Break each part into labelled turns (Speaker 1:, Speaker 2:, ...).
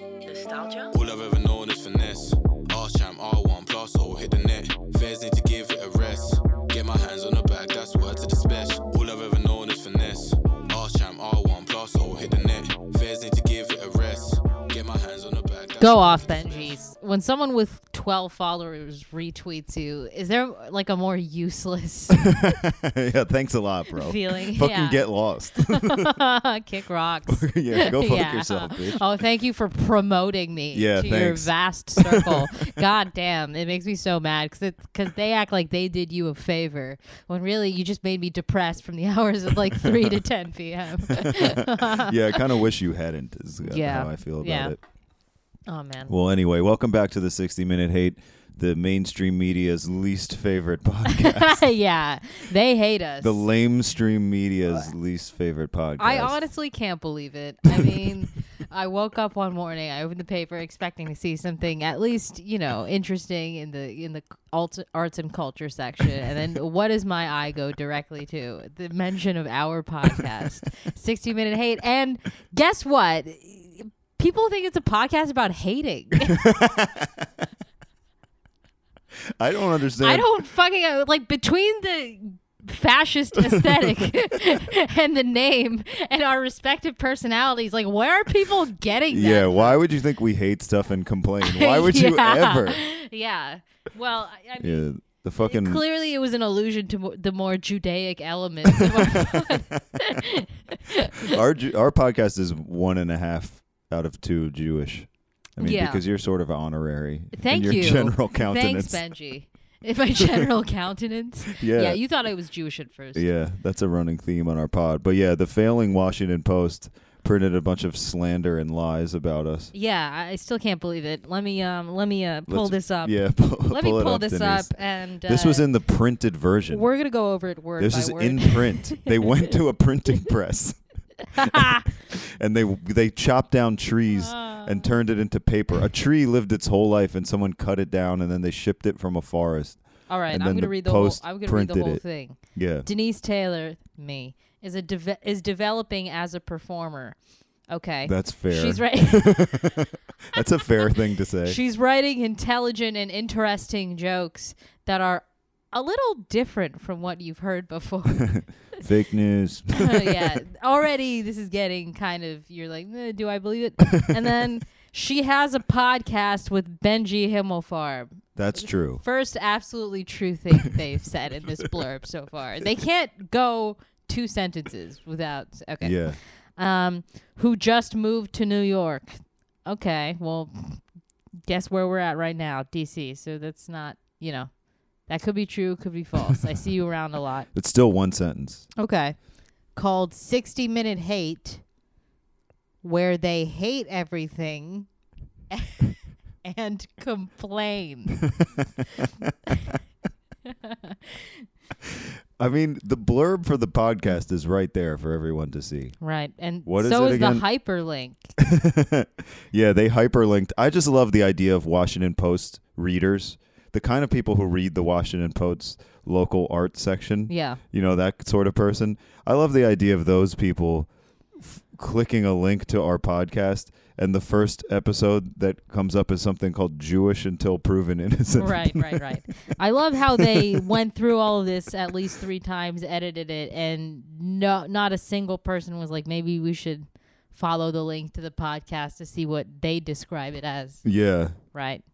Speaker 1: Nostalgia?
Speaker 2: All I've ever known is finesse. Arse champ, R1 plus, or hit the net. Fairs need to give it a rest. Get my hands on the bag, that's word to the special. All I've ever known is finesse. Arse champ, R1 plus, or hit the net. Fairs need to give it a rest. Get my hands on the bag. that's
Speaker 3: Go
Speaker 2: word
Speaker 3: off,
Speaker 2: to the special.
Speaker 3: Benji. When someone with 12 followers retweets you, is there like a more useless
Speaker 4: yeah, thanks a lot, bro.
Speaker 3: feeling?
Speaker 4: Fucking
Speaker 3: yeah.
Speaker 4: get lost.
Speaker 3: Kick rocks.
Speaker 4: yeah, go fuck
Speaker 3: Yeah.
Speaker 4: yourself, bitch.
Speaker 3: Oh, thank you for promoting me
Speaker 4: Yeah,
Speaker 3: to your
Speaker 4: thanks.
Speaker 3: vast circle. God damn, it makes me so mad because because they act like they did you a favor when really you just made me depressed from the hours of like three to ten p.m.
Speaker 4: yeah, I kind of wish you hadn't. Is uh,
Speaker 3: Oh. Yeah.
Speaker 4: how I feel about
Speaker 3: Yeah.
Speaker 4: it.
Speaker 3: oh man,
Speaker 4: Well, anyway, welcome back to the 60 Minute Hate, the mainstream media's least favorite podcast.
Speaker 3: yeah, they hate us.
Speaker 4: the lamestream media's least favorite podcast.
Speaker 3: I honestly can't believe it. I mean, I woke up one morning, I opened the paper expecting to see something at least, you know, interesting in the in the alt, arts and culture section, and then what does my eye go directly to? The mention of our podcast, 60 Minute Hate. And guess what? People think it's a podcast about hating.
Speaker 4: I don't understand.
Speaker 3: I don't fucking uh, like between the fascist aesthetic and the name and our respective personalities. Like, where are people getting that?
Speaker 4: Yeah, why would you think we hate stuff and complain? Why would you
Speaker 3: Yeah.
Speaker 4: ever?
Speaker 3: Yeah. Well, I, I mean,
Speaker 4: Yeah, the fucking
Speaker 3: clearly it was an allusion to mo- the more Judaic elements. of our-
Speaker 4: our Ju- our podcast is one and a half out of two Jewish. I mean,
Speaker 3: Yeah.
Speaker 4: because you're sort of honorary.
Speaker 3: Thank
Speaker 4: in your
Speaker 3: you.
Speaker 4: General
Speaker 3: Thanks,
Speaker 4: countenance.
Speaker 3: Benji. In my general countenance.
Speaker 4: Yeah.
Speaker 3: you thought I was Jewish at first.
Speaker 4: Yeah, that's a running theme on our pod. But yeah, the failing Washington Post printed a bunch of slander and lies about us.
Speaker 3: Yeah, I- I still can't believe it. Let me um, let me uh, pull
Speaker 4: Let's-
Speaker 3: this up.
Speaker 4: Yeah, pull,
Speaker 3: Let me
Speaker 4: pull it
Speaker 3: pull
Speaker 4: up,
Speaker 3: this
Speaker 4: Denise.
Speaker 3: up and uh,
Speaker 4: This was in the printed version.
Speaker 3: We're gonna go over it word
Speaker 4: this
Speaker 3: by
Speaker 4: is
Speaker 3: word.
Speaker 4: in print. they went to a printing press. and they they chopped down trees
Speaker 3: Ah.
Speaker 4: and turned it into paper. A tree lived its whole life, and someone cut it down, and then they shipped it from a forest.
Speaker 3: All right,
Speaker 4: and
Speaker 3: I'm
Speaker 4: then
Speaker 3: gonna
Speaker 4: the
Speaker 3: read the whole.
Speaker 4: Post
Speaker 3: I'm gonna read the
Speaker 4: printed
Speaker 3: whole
Speaker 4: it.
Speaker 3: thing.
Speaker 4: Yeah,
Speaker 3: Denise Taylor, me, is a deve- is developing as a performer. Okay,
Speaker 4: that's fair.
Speaker 3: She's right.
Speaker 4: That's a fair thing to say.
Speaker 3: She's writing intelligent and interesting jokes that are a little different from what you've heard before.
Speaker 4: Fake news.
Speaker 3: yeah, already this is getting kind of you're like, "Eh, do I believe it? and then she has a podcast with Benji Himmelfarb.
Speaker 4: That's true.
Speaker 3: First, absolutely true thing they've said in this blurb so far. They can't go two sentences without okay.
Speaker 4: Yeah.
Speaker 3: um, who just moved to New York. Okay, well, guess where we're at right now, DC. So that's not, you know, that could be true, could be false. I see you around a lot.
Speaker 4: It's still one sentence.
Speaker 3: Okay. Called 60 Minute Hate, where they hate everything and complain.
Speaker 4: I mean, the blurb for the podcast is right there for everyone to see.
Speaker 3: Right. And
Speaker 4: What is
Speaker 3: so
Speaker 4: it
Speaker 3: is, the
Speaker 4: again?
Speaker 3: hyperlink.
Speaker 4: Yeah, they hyperlinked. I just love the idea of Washington Post readers, the kind of people who read the Washington Post's local art section.
Speaker 3: Yeah.
Speaker 4: You know, that sort of person. I love the idea of those people f- clicking a link to our podcast and the first episode that comes up is something called Jewish Until Proven Innocent.
Speaker 3: right, right, right. I love how they went through all of this at least three times, edited it, and no, not a single person was like, maybe we should follow the link to the podcast to see what they describe it as,
Speaker 4: Yeah,
Speaker 3: right?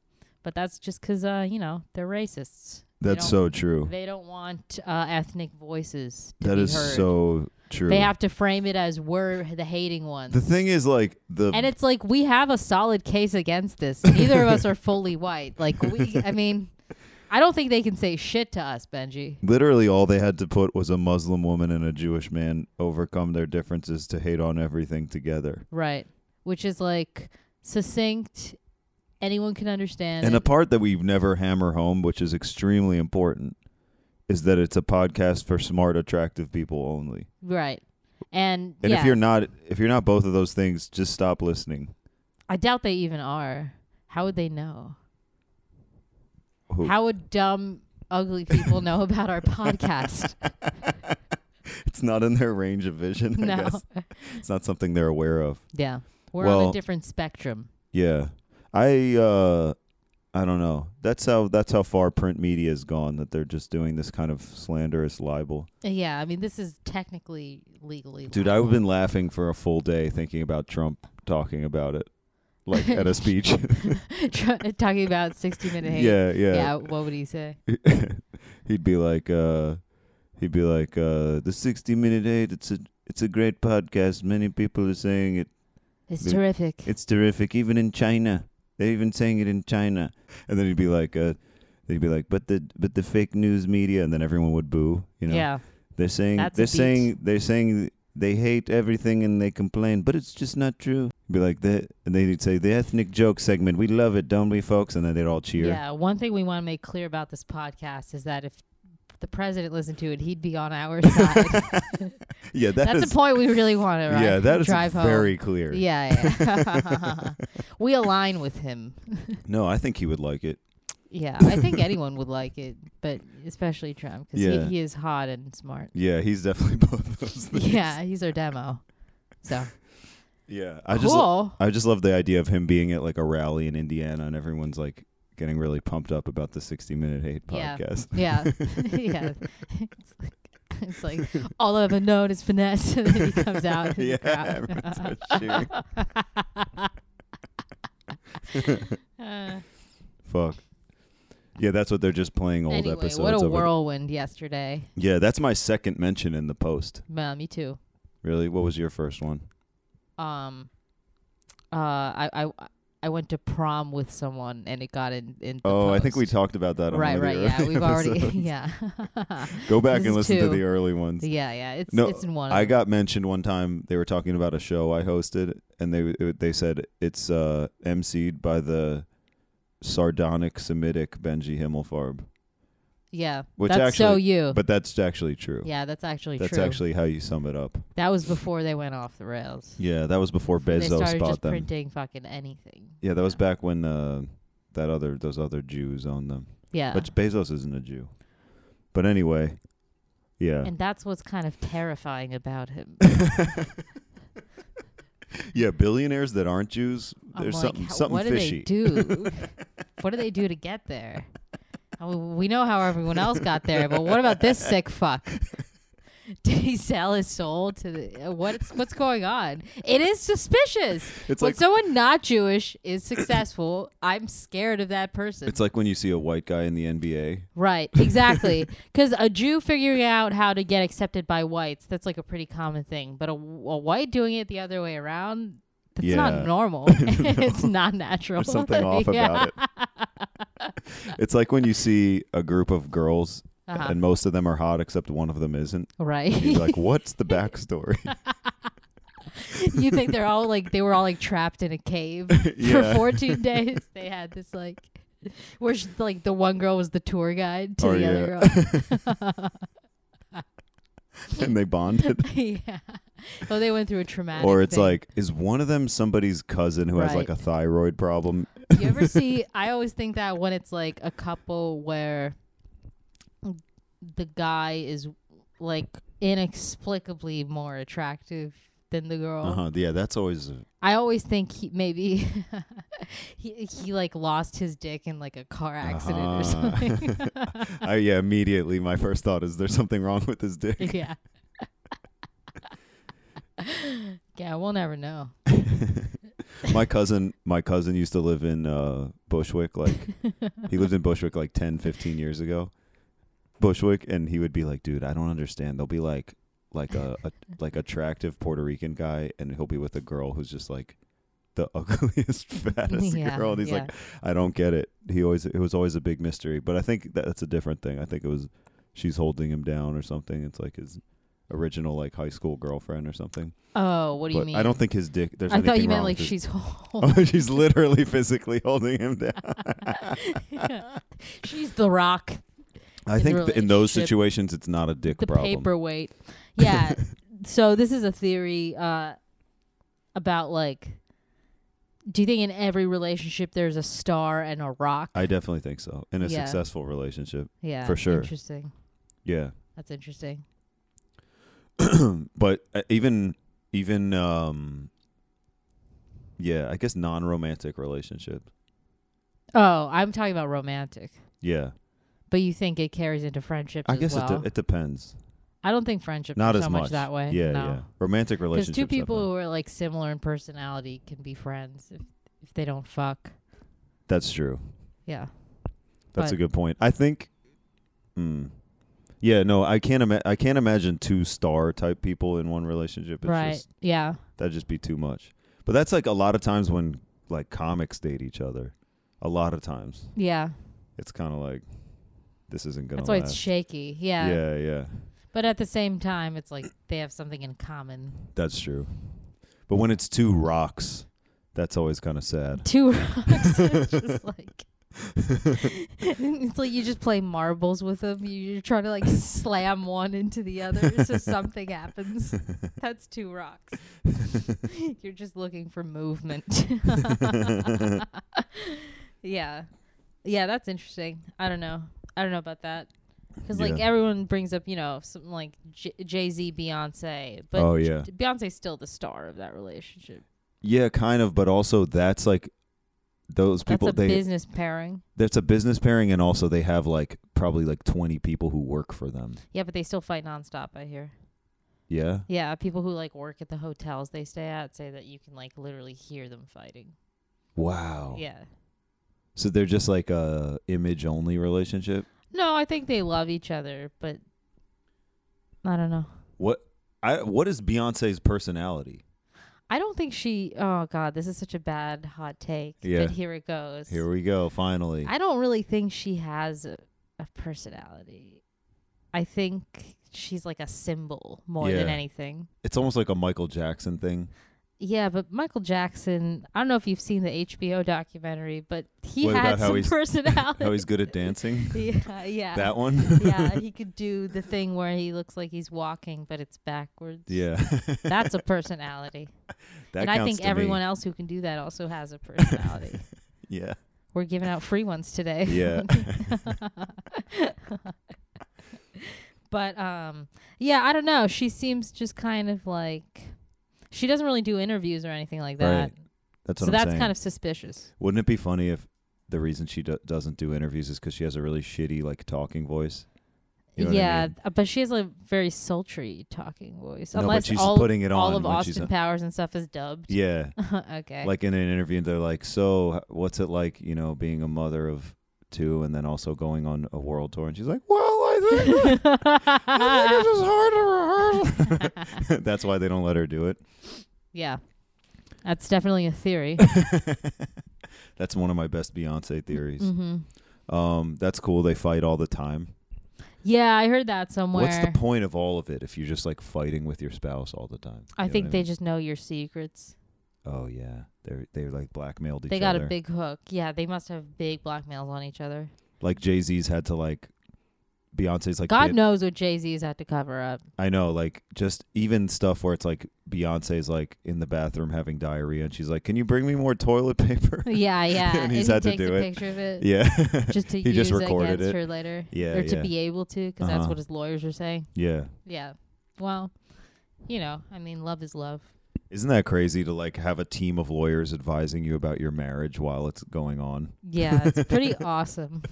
Speaker 3: But that's just because, uh, you know, they're racists. They
Speaker 4: that's
Speaker 3: don't-
Speaker 4: so true.
Speaker 3: They don't want uh, ethnic voices. To
Speaker 4: That
Speaker 3: be
Speaker 4: is
Speaker 3: heard.
Speaker 4: so true.
Speaker 3: They have to frame it as we're the hating ones.
Speaker 4: the thing is, like, the.
Speaker 3: and it's like we have a solid case against this. Neither of us are fully white. Like we, I mean, I don't think they can say shit to us, Benji.
Speaker 4: Literally, all they had to put was a Muslim woman and a Jewish man overcome their differences to hate on everything together.
Speaker 3: Right. Which is like succinct. Anyone can understand.
Speaker 4: And a
Speaker 3: it.
Speaker 4: part that we never hammer home, which is extremely important, is that it's a podcast for smart, attractive people only.
Speaker 3: right. And,
Speaker 4: And
Speaker 3: yeah,
Speaker 4: if you're not, if you're not both of those things, just stop listening.
Speaker 3: I doubt they even are. How would they know?
Speaker 4: Who-
Speaker 3: How would dumb, ugly people know about our podcast?
Speaker 4: It's not in their range of vision. I
Speaker 3: no.
Speaker 4: guess it's not something they're aware of.
Speaker 3: Yeah. We're on
Speaker 4: Well-
Speaker 3: a different spectrum.
Speaker 4: Yeah. I uh I don't know. That's how that's how far print media has gone that they're just doing this kind of slanderous libel.
Speaker 3: Yeah, I mean, this is technically legally.
Speaker 4: Dude, I've been laughing for a full day thinking about Trump talking about it like at a speech.
Speaker 3: Tr- talking about 60 minute hate.
Speaker 4: yeah,
Speaker 3: yeah,
Speaker 4: yeah.
Speaker 3: what would he say?
Speaker 4: he'd be like uh he'd be like uh the 60 minute hate it's a it's a great podcast. Many people are saying it
Speaker 3: It's
Speaker 4: The-
Speaker 3: terrific.
Speaker 4: It's terrific, even in China. They're even saying it in China. And then he'd be like, uh, they'd be like, but the but the fake news media, and then everyone would boo. You know,
Speaker 3: yeah.
Speaker 4: they're saying
Speaker 3: That's a
Speaker 4: they're
Speaker 3: beat.
Speaker 4: saying they're saying they hate everything and they complain, but it's just not true. Be like the and they'd say the ethnic joke segment. We love it, don't we, folks? And then they'd all cheer.
Speaker 3: Yeah. One thing we want to make clear about this podcast is that if the president listened to it, he'd be on our side.
Speaker 4: yeah, that
Speaker 3: That's
Speaker 4: is-
Speaker 3: a point we really want to
Speaker 4: yeah, that is
Speaker 3: drive home.
Speaker 4: very clear.
Speaker 3: Yeah, yeah. we align with him.
Speaker 4: No, I think he would like it.
Speaker 3: Yeah, I think anyone would like it, but especially Trump because
Speaker 4: Yeah.
Speaker 3: he, he is hot and smart.
Speaker 4: Yeah, he's definitely both those things.
Speaker 3: Yeah, he's our demo. So
Speaker 4: Yeah, I just
Speaker 3: cool.
Speaker 4: I just love the idea of him being at like a rally in Indiana and everyone's like getting really pumped up about the 60 minute hate
Speaker 3: Yeah.
Speaker 4: podcast.
Speaker 3: yeah, yeah. It's like, it's like all I've ever known is finesse, and then he comes out. in the
Speaker 4: Yeah,
Speaker 3: crowd.
Speaker 4: everyone starts cheering.
Speaker 3: Uh,
Speaker 4: Fuck. Yeah, that's what they're just playing old
Speaker 3: anyway,
Speaker 4: episodes
Speaker 3: what a
Speaker 4: of it.
Speaker 3: whirlwind yesterday.
Speaker 4: Yeah, that's my second mention in the post.
Speaker 3: Well, me too.
Speaker 4: Really? What was your first one?
Speaker 3: um uh I, I I went to prom with someone and it got in in the
Speaker 4: Oh, I think we
Speaker 3: post.
Speaker 4: talked about that on
Speaker 3: right
Speaker 4: one
Speaker 3: right
Speaker 4: of the
Speaker 3: yeah
Speaker 4: early
Speaker 3: we've already
Speaker 4: episodes.
Speaker 3: yeah
Speaker 4: Go back
Speaker 3: This
Speaker 4: and
Speaker 3: is
Speaker 4: listen to
Speaker 3: two.
Speaker 4: the early ones.
Speaker 3: yeah yeah it's
Speaker 4: No,
Speaker 3: it's in one of
Speaker 4: I
Speaker 3: them.
Speaker 4: got mentioned one time. They were talking about a show I hosted, and they it- they said it's uh, emceed by the sardonic Semitic Benji Himmelfarb,
Speaker 3: yeah
Speaker 4: which
Speaker 3: that's
Speaker 4: actually,
Speaker 3: so you
Speaker 4: but that's actually true.
Speaker 3: yeah that's actually
Speaker 4: that's
Speaker 3: true
Speaker 4: actually how you sum it up.
Speaker 3: that was before they went off the rails
Speaker 4: Yeah, that was before
Speaker 3: they
Speaker 4: Bezos
Speaker 3: started
Speaker 4: bought
Speaker 3: just
Speaker 4: them.
Speaker 3: printing fucking anything
Speaker 4: Yeah, that was back when uh, that other those other Jews owned them.
Speaker 3: yeah
Speaker 4: But Bezos isn't a Jew. But anyway, yeah,
Speaker 3: and that's what's kind of terrifying about him
Speaker 4: yeah, billionaires that aren't Jews,
Speaker 3: I'm
Speaker 4: there's
Speaker 3: like,
Speaker 4: something
Speaker 3: "How-
Speaker 4: something
Speaker 3: what
Speaker 4: fishy.
Speaker 3: do they do? what do they do to get there? I mean, we know how everyone else got there, but what about this sick fuck? Did he sell his soul to the? uh, What's what's going on? It is suspicious.
Speaker 4: It's
Speaker 3: when
Speaker 4: like-
Speaker 3: someone not Jewish is successful, I'm scared of that person.
Speaker 4: It's like when you see a white guy in the NBA.
Speaker 3: Right, exactly. Because a Jew figuring out how to get accepted by whites, that's like a pretty common thing. But a, a white doing it the other way around, that's
Speaker 4: Yeah.
Speaker 3: not normal. it's not natural.
Speaker 4: There's something off about it. It's like when you see a group of girls
Speaker 3: Uh-huh.
Speaker 4: and most of them are hot except one of them isn't.
Speaker 3: Right.
Speaker 4: You're like, what's the backstory?
Speaker 3: you think they're all like, they were all like trapped in a cave
Speaker 4: Yeah.
Speaker 3: for 14 days. They had this like, where she, like the one girl was the tour guide to
Speaker 4: Oh,
Speaker 3: the
Speaker 4: yeah.
Speaker 3: other girl.
Speaker 4: and they bonded.
Speaker 3: yeah. Well, they went through a traumatic.
Speaker 4: Or it's
Speaker 3: thing.
Speaker 4: like, is one of them somebody's cousin who has like a
Speaker 3: Right.
Speaker 4: thyroid problem?
Speaker 3: You ever see? I always think that when it's like a couple where the guy is like inexplicably more attractive than the girl.
Speaker 4: Uh huh. Yeah, that's always.
Speaker 3: I always think he maybe he he like lost his dick in like a car accident
Speaker 4: Uh-huh.
Speaker 3: or something.
Speaker 4: I, yeah, immediately my first thought is there's something wrong with his dick.
Speaker 3: yeah. yeah, we'll never know.
Speaker 4: my cousin, my cousin used to live in uh, Bushwick. Like he lived in Bushwick like 10, 15 years ago. Bushwick, and he would be like, "Dude, I don't understand." They'll be like, like a, a like attractive Puerto Rican guy, and he'll be with a girl who's just like the ugliest, fattest
Speaker 3: Yeah,
Speaker 4: girl, and he's like, "I don't get it." He always it was always a big mystery, but I think that, that's a different thing. I think it was she's holding him down or something. It's like his original like high school girlfriend or something.
Speaker 3: Oh, what do
Speaker 4: but
Speaker 3: you mean?
Speaker 4: I don't think his dick. There's
Speaker 3: I
Speaker 4: anything
Speaker 3: thought you meant
Speaker 4: wrong
Speaker 3: like
Speaker 4: with his-
Speaker 3: she's whole.
Speaker 4: Oh, she's literally physically holding him down.
Speaker 3: she's the rock,
Speaker 4: I
Speaker 3: In
Speaker 4: think
Speaker 3: a
Speaker 4: th- in those
Speaker 3: relationship,
Speaker 4: situations, it's not a dick
Speaker 3: the
Speaker 4: problem.
Speaker 3: paperweight. Yeah. so this is a theory uh, about like, do you think in every relationship there's a star and a rock?
Speaker 4: I definitely think so. In a
Speaker 3: Yeah.
Speaker 4: successful relationship,
Speaker 3: yeah,
Speaker 4: for sure.
Speaker 3: Interesting.
Speaker 4: yeah.
Speaker 3: That's interesting.
Speaker 4: but uh, even even um, Yeah, I guess non-romantic relationships.
Speaker 3: Oh, I'm talking about romantic.
Speaker 4: Yeah,
Speaker 3: But you think it carries into friendships
Speaker 4: I
Speaker 3: as
Speaker 4: guess
Speaker 3: well?
Speaker 4: it, de- it depends.
Speaker 3: I don't think friendships
Speaker 4: Not
Speaker 3: are
Speaker 4: as
Speaker 3: so much. that way.
Speaker 4: Yeah,
Speaker 3: no.
Speaker 4: yeah. Romantic
Speaker 3: Because
Speaker 4: relationships.
Speaker 3: two people
Speaker 4: definitely.
Speaker 3: who are like similar in personality can be friends if if they don't fuck.
Speaker 4: That's true.
Speaker 3: Yeah.
Speaker 4: That's a
Speaker 3: But-
Speaker 4: good point. I think. Mm, yeah, no, I can't. Ima- I can't imagine two star type people in one relationship. It's
Speaker 3: right.
Speaker 4: Just,
Speaker 3: yeah.
Speaker 4: that'd just be too much. But that's like a lot of times when like comics date each other. A lot of times,
Speaker 3: Yeah.
Speaker 4: it's kind of like this isn't gonna.
Speaker 3: That's why it's
Speaker 4: last.
Speaker 3: shaky. Yeah.
Speaker 4: yeah, yeah.
Speaker 3: But at the same time, it's like they have something in common.
Speaker 4: That's true. But when it's two rocks, that's always kind of sad.
Speaker 3: Two rocks. are just like. it's like you just play marbles with them. You- You're trying to like slam one into the other, so something happens. That's two rocks. You're just looking for movement. yeah. Yeah, that's interesting. I don't know. I don't know about that. Because, like,
Speaker 4: Yeah.
Speaker 3: everyone brings up, you know, something like J- Jay Z, Beyonce. But
Speaker 4: Oh, yeah.
Speaker 3: J- Beyonce's still the star of that relationship.
Speaker 4: Yeah, kind of, but also that's like those people
Speaker 3: that's a
Speaker 4: they
Speaker 3: business pairing.
Speaker 4: that's a business pairing and also they have like probably like 20 people who work for them.
Speaker 3: Yeah, but they still fight nonstop, I hear.
Speaker 4: Yeah.
Speaker 3: Yeah, people who, like, work at the hotels they stay at say that you can, like, literally hear them fighting.
Speaker 4: Wow.
Speaker 3: Yeah.
Speaker 4: So they're just like a image only relationship.
Speaker 3: No, I think they love each other, but I don't know.
Speaker 4: What I what is Beyonce's personality?
Speaker 3: I don't think she. Oh God, this is such a bad hot take.
Speaker 4: Yeah.
Speaker 3: But here it goes.
Speaker 4: Here we go, finally.
Speaker 3: I don't really think she has a, a personality. I think she's like a symbol more than
Speaker 4: Yeah.
Speaker 3: anything.
Speaker 4: it's almost like a Michael Jackson thing.
Speaker 3: Yeah, but Michael Jackson. I don't know if you've seen the HBO documentary, but he
Speaker 4: What
Speaker 3: had
Speaker 4: about how
Speaker 3: some
Speaker 4: he's-
Speaker 3: personality.
Speaker 4: How he's good at dancing.
Speaker 3: yeah, yeah.
Speaker 4: that one?
Speaker 3: yeah, he could do the thing where he looks like he's walking, but it's backwards.
Speaker 4: yeah.
Speaker 3: That's a personality.
Speaker 4: that
Speaker 3: and I
Speaker 4: counts
Speaker 3: think
Speaker 4: to me.
Speaker 3: everyone else who can do that also has a personality.
Speaker 4: Yeah.
Speaker 3: We're giving out free ones today.
Speaker 4: Yeah.
Speaker 3: but um yeah, I don't know. She seems just kind of like she doesn't really do interviews or anything like that.
Speaker 4: Right. That's
Speaker 3: so
Speaker 4: what I'm
Speaker 3: that's
Speaker 4: saying.
Speaker 3: kind of suspicious.
Speaker 4: Wouldn't it be funny if the reason she do- doesn't do interviews is because she has a really shitty like talking voice? You know what I
Speaker 3: yeah,
Speaker 4: mean?
Speaker 3: uh, but she has a very sultry talking voice.
Speaker 4: No, but
Speaker 3: Unless
Speaker 4: she's
Speaker 3: all,
Speaker 4: putting it
Speaker 3: all
Speaker 4: on
Speaker 3: of
Speaker 4: when she's
Speaker 3: Austin
Speaker 4: on-
Speaker 3: Powers and stuff is dubbed.
Speaker 4: Yeah,
Speaker 3: okay.
Speaker 4: like in an interview, they're like, "So, h- what's it like, you know, being a mother of two and then also going on a world tour?" And she's like, "Well, I think, I think it's just hard to rehearse." That's why they don't let her do it.
Speaker 3: yeah. That's definitely a theory.
Speaker 4: That's one of my best Beyonce theories.
Speaker 3: mm-hmm.
Speaker 4: Um, that's cool. They fight all the time.
Speaker 3: Yeah, I heard that somewhere.
Speaker 4: What's the point of all of it if you're just like fighting with your spouse all the time?
Speaker 3: I
Speaker 4: You know
Speaker 3: think
Speaker 4: what
Speaker 3: they
Speaker 4: mean?
Speaker 3: just know your secrets.
Speaker 4: Oh yeah, they they like blackmailed each
Speaker 3: They got
Speaker 4: other.
Speaker 3: a big hook. Yeah, they must have big blackmails on each other.
Speaker 4: like Jay Z's had to like Beyonce's like
Speaker 3: God
Speaker 4: Bey-
Speaker 3: knows what Jay Z's had to cover up.
Speaker 4: I know like just even stuff where it's like Beyonce's like in the bathroom having diarrhea and she's like, "Can you bring me more toilet paper?"
Speaker 3: Yeah, yeah.
Speaker 4: And he's
Speaker 3: he
Speaker 4: had to
Speaker 3: takes
Speaker 4: do
Speaker 3: a
Speaker 4: it.
Speaker 3: picture of it.
Speaker 4: yeah,
Speaker 3: Just to
Speaker 4: He
Speaker 3: use
Speaker 4: just
Speaker 3: it
Speaker 4: recorded
Speaker 3: against
Speaker 4: it.
Speaker 3: her later.
Speaker 4: Yeah,
Speaker 3: Or to
Speaker 4: yeah.
Speaker 3: be able to, because that's
Speaker 4: Uh-huh.
Speaker 3: what his lawyers are saying.
Speaker 4: yeah.
Speaker 3: Yeah. Well, you know, I mean, love is love.
Speaker 4: Isn't that crazy to like have a team of lawyers advising you about your marriage while it's going on?
Speaker 3: Yeah, it's pretty awesome.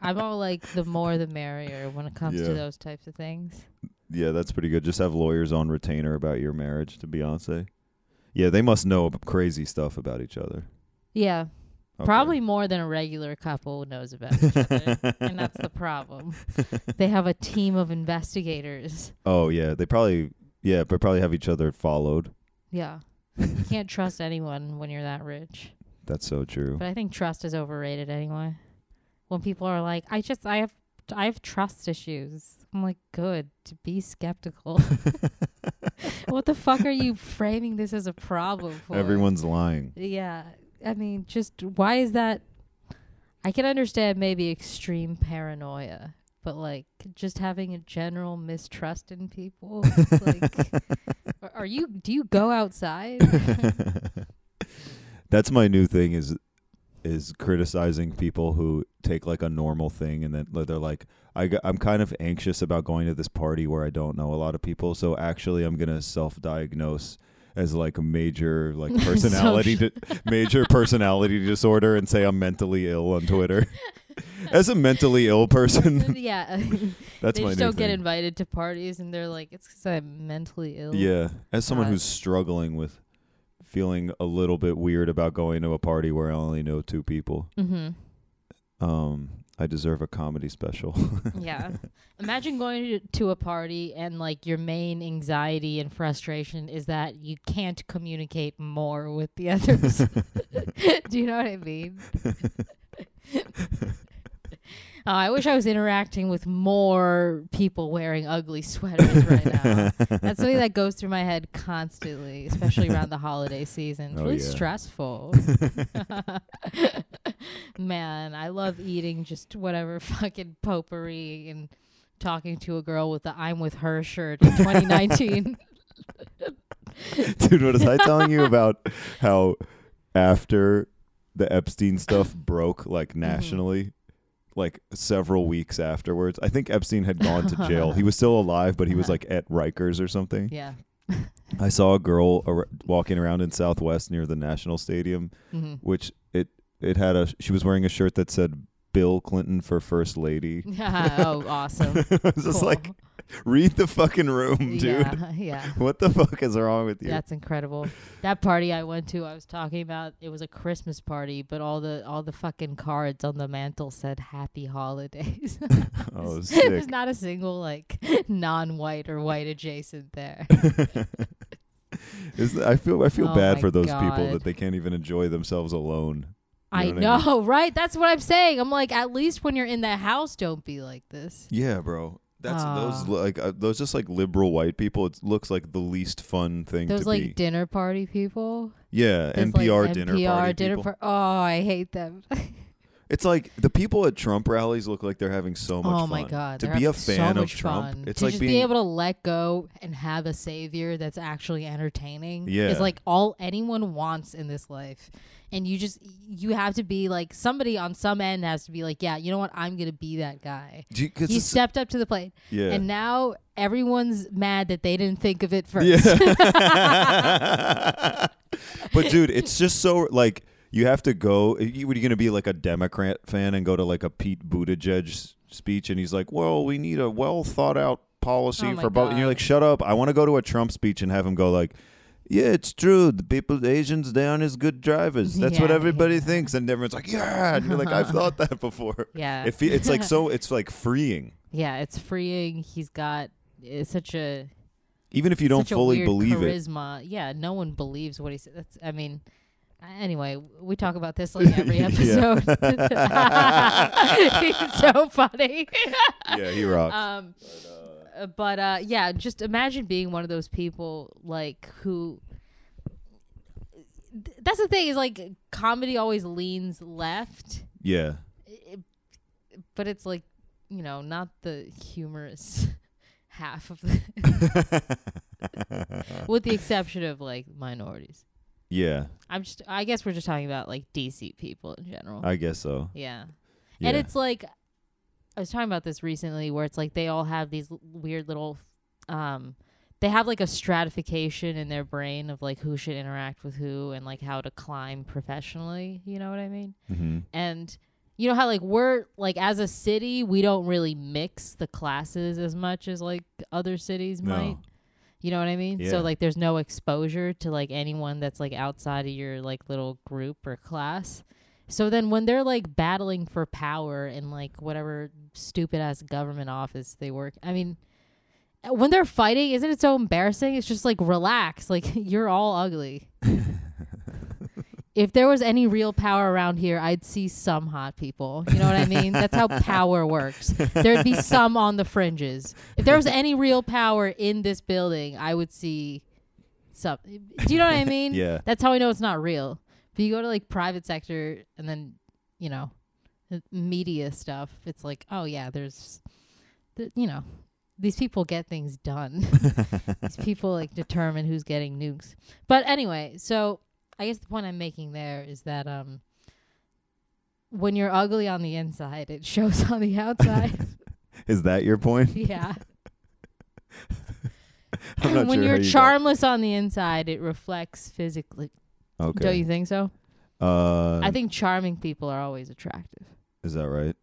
Speaker 3: I'm all like, the more the merrier when it comes
Speaker 4: Yeah.
Speaker 3: to those types of things.
Speaker 4: Yeah, that's pretty good. Just have lawyers on retainer about your marriage to Beyonce. Yeah, they must know ab- crazy stuff about each other.
Speaker 3: Yeah.
Speaker 4: Okay.
Speaker 3: Probably more than a regular couple knows about each other. and that's the problem. They have a team of investigators.
Speaker 4: Oh yeah, they probably yeah, but probably have each other followed.
Speaker 3: Yeah. You can't trust anyone when you're that rich.
Speaker 4: That's so true.
Speaker 3: But I think trust is overrated anyway. When people are like, I just I have I have trust issues. I'm like, good to be skeptical. what the fuck are you framing this as a problem for?
Speaker 4: Everyone's lying.
Speaker 3: Yeah. I mean, just why is that? I can understand maybe extreme paranoia, but like just having a general mistrust in people. it's like, are- are you, do you go outside?
Speaker 4: That's my new thing is is criticizing people who take like a normal thing and then like, they're like I g- I'm kind of anxious about going to this party where I don't know a lot of people, so actually I'm going to self-diagnose as like a major like personality di- major personality disorder and say I'm mentally ill on Twitter. as a mentally ill person,
Speaker 3: yeah.
Speaker 4: that's
Speaker 3: they
Speaker 4: my
Speaker 3: just
Speaker 4: new
Speaker 3: don't get
Speaker 4: thing.
Speaker 3: invited to parties, and they're like, it's because I'm mentally ill.
Speaker 4: Yeah, as someone
Speaker 3: God.
Speaker 4: who's struggling with feeling a little bit weird about going to a party where I only know two people,
Speaker 3: hmm
Speaker 4: um, I deserve a comedy special.
Speaker 3: Yeah. Imagine going to- to a party and like your main anxiety and frustration is that you can't communicate more with the others. Do you know what I mean? Oh, I wish I was interacting with more people wearing ugly sweaters right now. That's something that goes through my head constantly, especially around the holiday season. It's
Speaker 4: Oh,
Speaker 3: really
Speaker 4: yeah.
Speaker 3: stressful. Man, I love eating just whatever fucking potpourri and talking to a girl with the I'm with her shirt in 2019.
Speaker 4: Dude, what was I telling you about how after the Epstein stuff broke
Speaker 3: Mm-hmm.
Speaker 4: like nationally, like several weeks afterwards, I think Epstein had gone to jail. he was still alive, but he was like at Rikers or something.
Speaker 3: yeah.
Speaker 4: I saw a girl ar- walking around in Southwest near the National Stadium,
Speaker 3: Mhm.
Speaker 4: which it it had a she was wearing a shirt that said Bill Clinton for First Lady.
Speaker 3: oh, awesome.
Speaker 4: I was just
Speaker 3: Cool.
Speaker 4: like, read the fucking room, dude.
Speaker 3: Yeah, yeah.
Speaker 4: What the fuck is wrong with you?
Speaker 3: That's incredible. That party I went to, I was talking about. It was a Christmas party, but all the all the fucking cards on the mantle said "Happy Holidays."
Speaker 4: oh, sick.
Speaker 3: There's not a single like non-white or white adjacent there.
Speaker 4: Is- I feel I feel
Speaker 3: Oh
Speaker 4: bad
Speaker 3: my
Speaker 4: for those people
Speaker 3: God.
Speaker 4: that they can't even enjoy themselves alone.
Speaker 3: I
Speaker 4: what I mean?
Speaker 3: know, right? That's what I'm saying. I'm like, at least when you're in the house, don't be like this.
Speaker 4: Yeah, bro. That's those
Speaker 3: Aw.
Speaker 4: li- like uh, those just like liberal white people. It looks like the least fun thing
Speaker 3: Those
Speaker 4: to
Speaker 3: like
Speaker 4: be.
Speaker 3: dinner party people.
Speaker 4: yeah,
Speaker 3: Those,
Speaker 4: NPR
Speaker 3: like,
Speaker 4: dinner
Speaker 3: NPR
Speaker 4: party
Speaker 3: dinner
Speaker 4: people.
Speaker 3: par- oh, I hate them.
Speaker 4: It's like the people at Trump rallies look like they're having so much
Speaker 3: oh
Speaker 4: fun.
Speaker 3: my god!
Speaker 4: to
Speaker 3: they're
Speaker 4: be a
Speaker 3: having so
Speaker 4: fan of
Speaker 3: much
Speaker 4: Trump,
Speaker 3: fun.
Speaker 4: it's
Speaker 3: to
Speaker 4: like
Speaker 3: just
Speaker 4: being
Speaker 3: be able to let go and have a savior that's actually entertaining.
Speaker 4: Yeah.
Speaker 3: is like all anyone wants in this life, and you just you have to be like somebody on some end has to be like, yeah, you know what? I'm gonna be that guy.
Speaker 4: Do you- 'cause
Speaker 3: He
Speaker 4: it's-
Speaker 3: stepped up to the plate,
Speaker 4: Yeah.
Speaker 3: and now everyone's mad that they didn't think of it first.
Speaker 4: Yeah. but dude, it's just so like you have to go. You, what, are you going to be like a Democrat fan and go to like a Pete Buttigieg s- speech and he's like, "Well, we need a well thought out policy
Speaker 3: Oh my
Speaker 4: for both." And you're
Speaker 3: God.
Speaker 4: like, "Shut up! I want to go to a Trump speech and have him go like." Yeah, it's true. The people, the Asians, they aren't as good drivers. That's what
Speaker 3: Yeah,
Speaker 4: everybody
Speaker 3: yeah.
Speaker 4: thinks, and everyone's like, "Yeah," and you're like, "I've thought that before."
Speaker 3: Yeah.
Speaker 4: It fe- it's like so. It's like freeing,
Speaker 3: Yeah, it's freeing. He's got it's such a
Speaker 4: even if you don't
Speaker 3: such a
Speaker 4: fully
Speaker 3: weird
Speaker 4: believe it.
Speaker 3: charisma. Yeah, no one believes what he said. That's, I mean, uh, anyway, we talk about this like every
Speaker 4: Yeah.
Speaker 3: episode. He's so funny.
Speaker 4: Yeah, he rocks.
Speaker 3: Um, uh, but uh, yeah, just imagine being one of those people like who. Th- That's the thing is like comedy always leans left,
Speaker 4: yeah.
Speaker 3: but it's like you know not the humorous half of the, with the exception of like minorities.
Speaker 4: yeah,
Speaker 3: I'm just I guess we're just talking about like DC people in general.
Speaker 4: I guess so.
Speaker 3: yeah.
Speaker 4: Yeah.
Speaker 3: And it's like I was talking about this recently where it's like they all have these l- weird little um they have like a stratification in their brain of like who should interact with who and like how to climb professionally, you know what I mean?
Speaker 4: hmm
Speaker 3: And you know how like we're like as a city, we don't really mix the classes as much as like other cities
Speaker 4: No.
Speaker 3: might. You know what I mean?
Speaker 4: Yeah.
Speaker 3: So like there's no exposure to like anyone that's like outside of your like little group or class. So then when they're like battling for power in like whatever stupid ass government office they work, I mean when they're fighting, isn't it so embarrassing? It's just like relax, like you're all ugly. if there was any real power around here, I'd see some hot people. You know what I mean? That's how power works. There'd be some on the fringes. If there was any real power in this building, I would see some. Do you know what I mean?
Speaker 4: Yeah.
Speaker 3: That's how I know it's not real. But you go to like private sector and then, you know, the media stuff, it's like, oh yeah, there's, th- you know, these people get things done. these people like determine who's getting nukes. But anyway, so I guess the point I'm making there is that um when you're ugly on the inside, it shows on the outside.
Speaker 4: Is that your point?
Speaker 3: yeah.
Speaker 4: I'm not
Speaker 3: when
Speaker 4: sure
Speaker 3: you're
Speaker 4: how you got-
Speaker 3: charmless on the inside, it reflects physically.
Speaker 4: Okay.
Speaker 3: Don't you think so?
Speaker 4: uh,
Speaker 3: I think charming people are always attractive.
Speaker 4: is that right?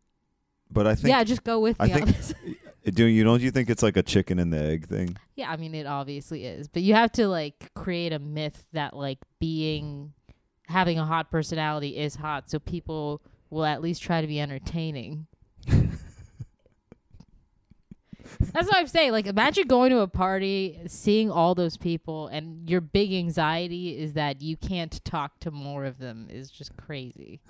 Speaker 4: But I think
Speaker 3: Yeah, just go with
Speaker 4: I
Speaker 3: me on
Speaker 4: think-
Speaker 3: this.
Speaker 4: do you don't you think it's like a chicken and the egg thing?
Speaker 3: yeah, I mean it obviously is, but you have to like create a myth that like being having a hot personality is hot, so people will at least try to be entertaining. That's what I'm saying. Like, imagine going to a party, seeing all those people, and your big anxiety is that you can't talk to more of them. Is just crazy.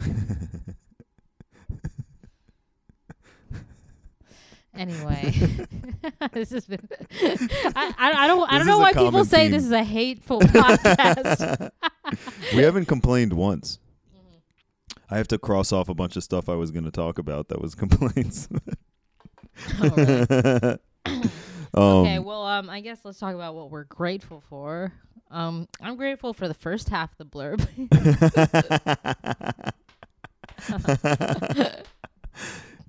Speaker 3: anyway, this has been. I, I, I don't. I don't
Speaker 4: This is
Speaker 3: know
Speaker 4: a
Speaker 3: why people
Speaker 4: common
Speaker 3: say
Speaker 4: theme.
Speaker 3: this is a hateful podcast.
Speaker 4: we haven't complained once.
Speaker 3: Mm-hmm.
Speaker 4: I have to cross off a bunch of stuff I was going to talk about that was complaints.
Speaker 3: All right.
Speaker 4: Um,
Speaker 3: okay. Well, um, I guess let's talk about what we're grateful for. Um, I'm grateful for the first half of the blurb.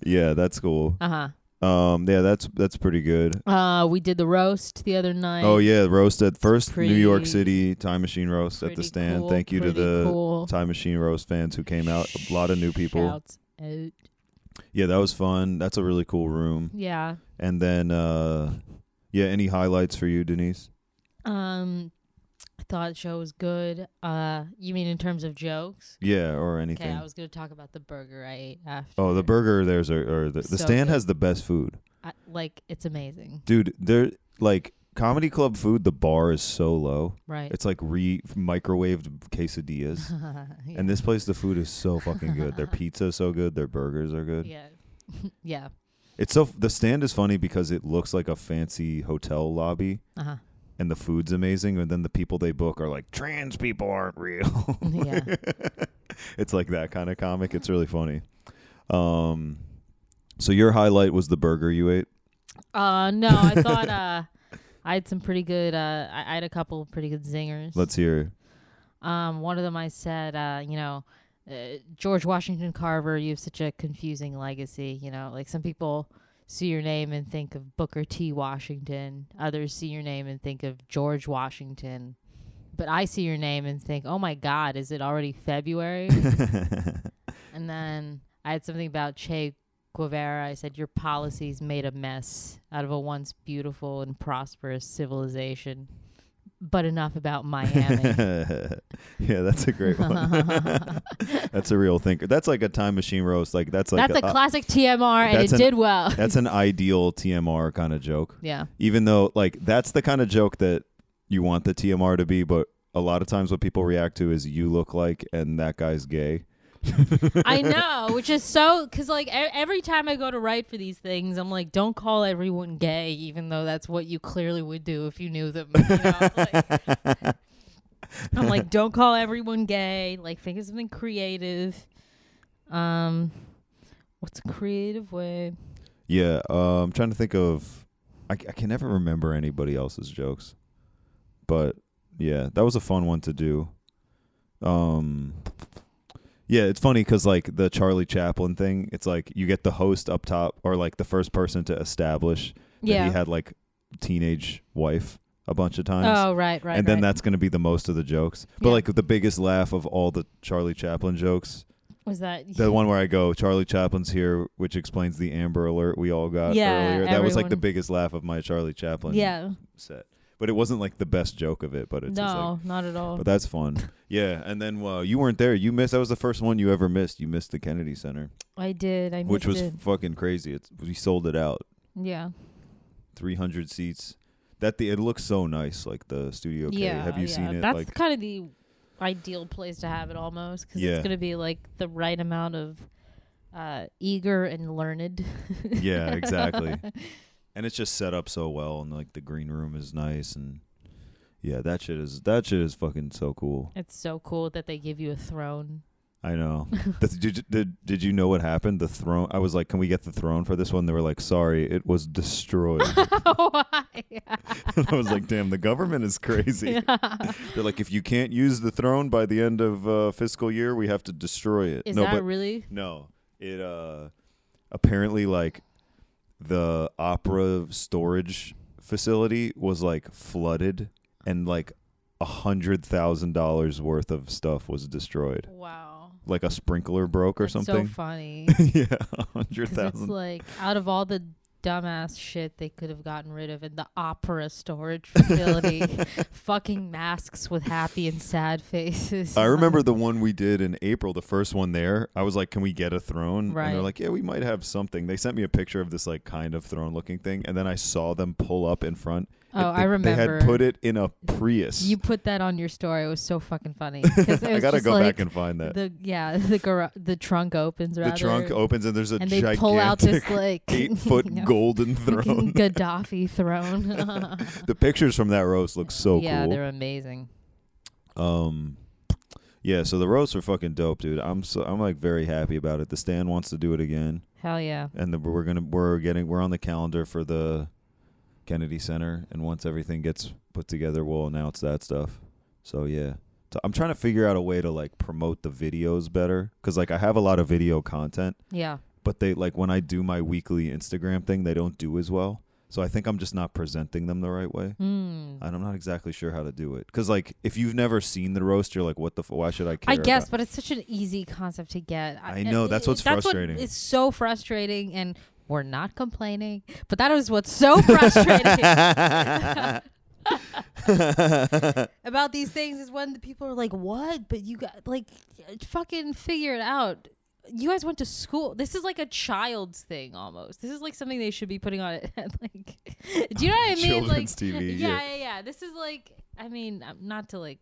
Speaker 4: yeah, that's cool.
Speaker 3: uh huh.
Speaker 4: Um, yeah, that's that's pretty good.
Speaker 3: Uh, we did the roast the other night.
Speaker 4: Oh yeah, roast at first New York
Speaker 3: pretty-
Speaker 4: City Time Machine roast at the
Speaker 3: Pretty
Speaker 4: stand.
Speaker 3: cool,
Speaker 4: Thank you to
Speaker 3: pretty
Speaker 4: the
Speaker 3: cool.
Speaker 4: Time Machine roast fans who came out. A lot of new people.
Speaker 3: Shouts Uh, out.
Speaker 4: Yeah, that was fun. That's a really cool room.
Speaker 3: Yeah.
Speaker 4: And then, uh, yeah, any highlights for you, Denise?
Speaker 3: Um, I thought the show was good. Uh, you mean in terms of jokes?
Speaker 4: Yeah, or
Speaker 3: Okay,
Speaker 4: anything?
Speaker 3: I was gonna talk about the burger I ate after.
Speaker 4: oh, the burger there's are, are the, the
Speaker 3: So
Speaker 4: stand
Speaker 3: good.
Speaker 4: has the best food,
Speaker 3: I, like it's amazing,
Speaker 4: dude. They're like comedy club food. The bar is so low.
Speaker 3: right?
Speaker 4: It's like re microwaved quesadillas.
Speaker 3: yeah.
Speaker 4: And this place, the food is so fucking good. Their pizza is so good. Their burgers are good.
Speaker 3: yeah, yeah,
Speaker 4: It's so the stand is funny because it looks like a fancy hotel lobby,
Speaker 3: uh huh,
Speaker 4: and the food's amazing. And then the people they book are like trans people aren't real.
Speaker 3: yeah.
Speaker 4: it's like that kind of comic. It's really funny. Um, so your highlight was the burger you ate.
Speaker 3: Uh, no, I thought uh, I had some pretty good. Uh, I, I had a couple pretty good zingers.
Speaker 4: Let's hear.
Speaker 3: Um, one of them I said, uh, you know, uh, George Washington Carver, you have such a confusing legacy. You know, like some people see your name and think of Booker T. Washington, others see your name and think of George Washington. But I see your name and think, oh my God, is it already February? and then I had something about Che Guevara. I said, your policies made a mess out of a once beautiful and prosperous civilization. But enough about Miami.
Speaker 4: yeah, that's a great one. that's a real thinker. That's like a time machine roast. Like that's like
Speaker 3: that's a
Speaker 4: uh,
Speaker 3: classic TMR, and it
Speaker 4: that's an-
Speaker 3: did well.
Speaker 4: that's an ideal TMR kind of joke.
Speaker 3: yeah,
Speaker 4: Even though like that's the kind of joke that you want the TMR to be, but a lot of times what people react to is you look like and that guy's gay.
Speaker 3: I know, which is so because like e- every time I go to write for these things, I'm like, don't call everyone gay, even though that's what you clearly would do if you knew them. you know? Like, I'm like, don't call everyone gay. Like, think of something creative. Um, what's a creative way?
Speaker 4: Yeah, uh, I'm trying to think of. I, c- I can never remember anybody else's jokes, but yeah, that was a fun one to do. Um, yeah, it's funny because like the Charlie Chaplin thing, it's like you get the host up top or like the first person to establish that he
Speaker 3: Yeah.
Speaker 4: had like teenage wife a bunch of times.
Speaker 3: Oh, right, right.
Speaker 4: and then
Speaker 3: right.
Speaker 4: that's going to be the most of the jokes. But
Speaker 3: Yeah.
Speaker 4: like the biggest laugh of all the Charlie Chaplin jokes,
Speaker 3: was that.
Speaker 4: the one where I go, Charlie Chaplin's here, which explains the Amber Alert we all got
Speaker 3: Yeah,
Speaker 4: earlier. That was like the
Speaker 3: everyone-
Speaker 4: biggest laugh of my Charlie Chaplin
Speaker 3: yeah,
Speaker 4: set. But it wasn't like the best joke of it, but it's just like,
Speaker 3: no, not at all.
Speaker 4: but that's fun. yeah, and then uh, you weren't there. You missed. That was the first one you ever missed. You missed the Kennedy Center,
Speaker 3: I did. I
Speaker 4: which
Speaker 3: missed
Speaker 4: was
Speaker 3: it.
Speaker 4: fucking crazy. It's we sold it out,
Speaker 3: yeah.
Speaker 4: 300 seats. That the it looks so nice, like the studio. K.
Speaker 3: Yeah,
Speaker 4: have you
Speaker 3: yeah.
Speaker 4: seen it?
Speaker 3: That's
Speaker 4: like
Speaker 3: kind of the ideal place to have it almost because
Speaker 4: Yeah.
Speaker 3: it's going to be like the right amount of uh, eager and learned.
Speaker 4: yeah, exactly. and it's just set up so well, and like the green room is nice, and yeah, that shit is that shit is fucking so cool.
Speaker 3: It's so cool that they give you a throne.
Speaker 4: I know. The- did, you- did did you know what happened? The throne. I was like, can we get the throne for this one? They were like, sorry, it was destroyed.
Speaker 3: Why?
Speaker 4: and I was like, damn, the government is crazy. They're like, if you can't use the throne by the end of uh, fiscal year, we have to destroy it.
Speaker 3: Is
Speaker 4: no,
Speaker 3: that
Speaker 4: but
Speaker 3: really?
Speaker 4: No, it uh apparently like the opera storage facility was like flooded and like a hundred thousand dollars worth of stuff was destroyed.
Speaker 3: Wow.
Speaker 4: Like a sprinkler broke or
Speaker 3: That's
Speaker 4: something.
Speaker 3: so funny.
Speaker 4: yeah, a hundred
Speaker 3: 'Cause it's
Speaker 4: thousand.
Speaker 3: like out of all the dumbass shit they could have gotten rid of in the opera storage facility, fucking masks with happy and sad faces.
Speaker 4: I
Speaker 3: on
Speaker 4: remember the one we did in April, the first one there. I was like, "Can we get a throne?" And
Speaker 3: Right.
Speaker 4: they're like, "Yeah, we might have something." They sent me a picture of this like kind of throne-looking thing, and then I saw them pull up in front. and
Speaker 3: Oh,
Speaker 4: they,
Speaker 3: I
Speaker 4: They
Speaker 3: remember.
Speaker 4: had put it in a Prius.
Speaker 3: You put that on your story. It was so fucking funny. 'Cause it
Speaker 4: I
Speaker 3: was
Speaker 4: gotta
Speaker 3: just
Speaker 4: go
Speaker 3: like
Speaker 4: back and find that.
Speaker 3: the yeah the gar- the trunk opens
Speaker 4: The,
Speaker 3: rather.
Speaker 4: trunk opens, and there's a
Speaker 3: and they
Speaker 4: gigantic
Speaker 3: pull out this like
Speaker 4: eight-foot
Speaker 3: you know,
Speaker 4: golden
Speaker 3: fucking
Speaker 4: throne.
Speaker 3: Gaddafi throne.
Speaker 4: the pictures from that roast look so
Speaker 3: yeah,
Speaker 4: cool.
Speaker 3: they're amazing.
Speaker 4: Um, yeah, so the roasts are fucking dope, dude. I'm so I'm like very happy about it. The stand wants to do it again,
Speaker 3: Hell yeah.
Speaker 4: and the, we're gonna we're getting we're on the calendar for the Kennedy Center, and once everything gets put together, we'll announce that stuff. So yeah, so I'm trying to figure out a way to like promote the videos better because like I have a lot of video content,
Speaker 3: Yeah.
Speaker 4: but they like when I do my weekly Instagram thing, they don't do as well. So I think I'm just not presenting them the right way.
Speaker 3: Mm.
Speaker 4: And I'm not exactly sure how to do it. Because, like, if you've never seen the roast, you're like, what the f- Why should I care?
Speaker 3: I guess,
Speaker 4: about-
Speaker 3: but it's such an easy concept to get.
Speaker 4: I know, that's what's
Speaker 3: that's
Speaker 4: frustrating.
Speaker 3: What, it's so frustrating, and we're not complaining, but that is what's so frustrating about these things is when the people are like, "What?" But you got like, uh, fucking figure it out. You guys went to school. This is like a child's thing almost. This is like something they should be putting on it. like, do you know what I mean? like,
Speaker 4: Children's TV,
Speaker 3: Yeah,
Speaker 4: yeah.
Speaker 3: yeah, yeah. This is like, I mean, um, not to like,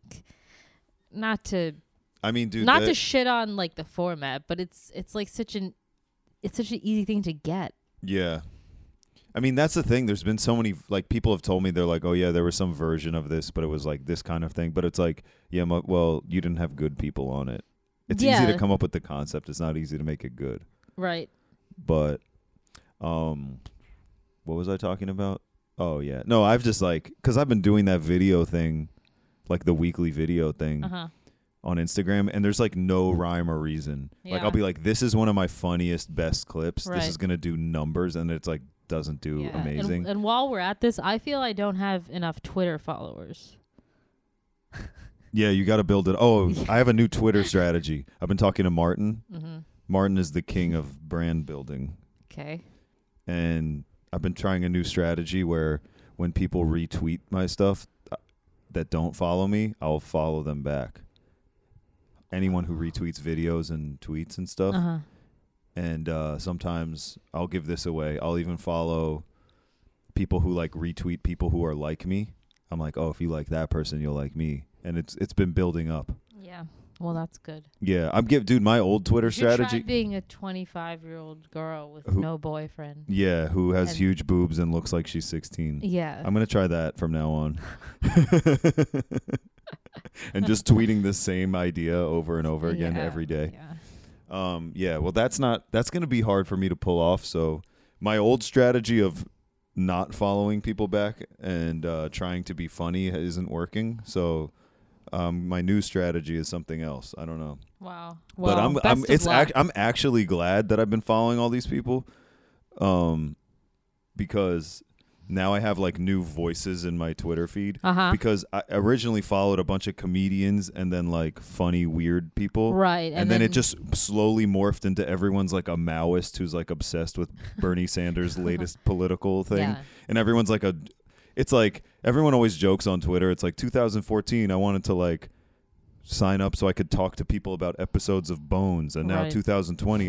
Speaker 3: not to
Speaker 4: I mean, dude.
Speaker 3: not
Speaker 4: that-
Speaker 3: to shit on like the format, but it's it's like such an it's such an easy thing to get.
Speaker 4: yeah. I mean, that's the thing. There's been so many, like, people have told me, they're like, oh, yeah, there was some version of this, but it was like this kind of thing. But it's like, yeah, mo- well, you didn't have good people on it. It's easy
Speaker 3: Yeah.
Speaker 4: to come up with the concept, it's not easy to make it good.
Speaker 3: Right.
Speaker 4: but um what was i talking about oh yeah no i've just like because i've been doing that video thing like the weekly video thing
Speaker 3: Uh huh.
Speaker 4: on instagram and there's like no rhyme or reason like
Speaker 3: Yeah.
Speaker 4: i'll be like this is one of my funniest best clips
Speaker 3: Right.
Speaker 4: this is gonna do numbers and it's like doesn't do amazing
Speaker 3: And, and while we're at this, I feel I don't have enough Twitter followers.
Speaker 4: yeah you gotta build it oh
Speaker 3: Yeah.
Speaker 4: i have a new twitter strategy i've been talking to martin
Speaker 3: Mm-hmm.
Speaker 4: martin is the king of brand building
Speaker 3: Okay.
Speaker 4: and I've been trying a new strategy where when people retweet my stuff uh, that don't follow me, I'll follow them back. Anyone who retweets videos and tweets and stuff,
Speaker 3: Uh huh.
Speaker 4: and uh, sometimes I'll give this away. I'll even follow people who like retweet people who are like me. I'm like, oh, if you like that person, you'll like me, and it's it's been building up.
Speaker 3: Yeah. Well, that's good.
Speaker 4: Yeah, I'm give dude my old Twitter
Speaker 3: You should
Speaker 4: strategy.
Speaker 3: Try being a 25 year old girl with
Speaker 4: Who-
Speaker 3: no boyfriend.
Speaker 4: yeah, who has
Speaker 3: And-
Speaker 4: huge boobs and looks like she's 16.
Speaker 3: Yeah.
Speaker 4: I'm gonna try that from now on. and just tweeting the same idea over and over again
Speaker 3: Yeah.
Speaker 4: every day.
Speaker 3: Yeah.
Speaker 4: Um, yeah, well that's not that's gonna be hard for me to pull off. So my old strategy of not following people back and uh, trying to be funny isn't working. So um, my new strategy is something else. I don't know.
Speaker 3: Wow. Well,
Speaker 4: but I'm,
Speaker 3: best of
Speaker 4: I'm it's
Speaker 3: luck.
Speaker 4: ac- I'm actually glad that I've been following all these people, um, because now I have like new voices in my Twitter feed.
Speaker 3: Uh-huh.
Speaker 4: Because I originally followed a bunch of comedians and then like funny weird people.
Speaker 3: Right, and
Speaker 4: And, then,
Speaker 3: then-
Speaker 4: it just slowly morphed into everyone's like a Maoist who's like obsessed with Bernie Sanders' latest political thing.
Speaker 3: Yeah.
Speaker 4: And everyone's like a it's like everyone always jokes on Twitter. It's like 2014 I wanted to like sign up so I could talk to people about episodes of Bones, and now
Speaker 3: Right.
Speaker 4: 2020,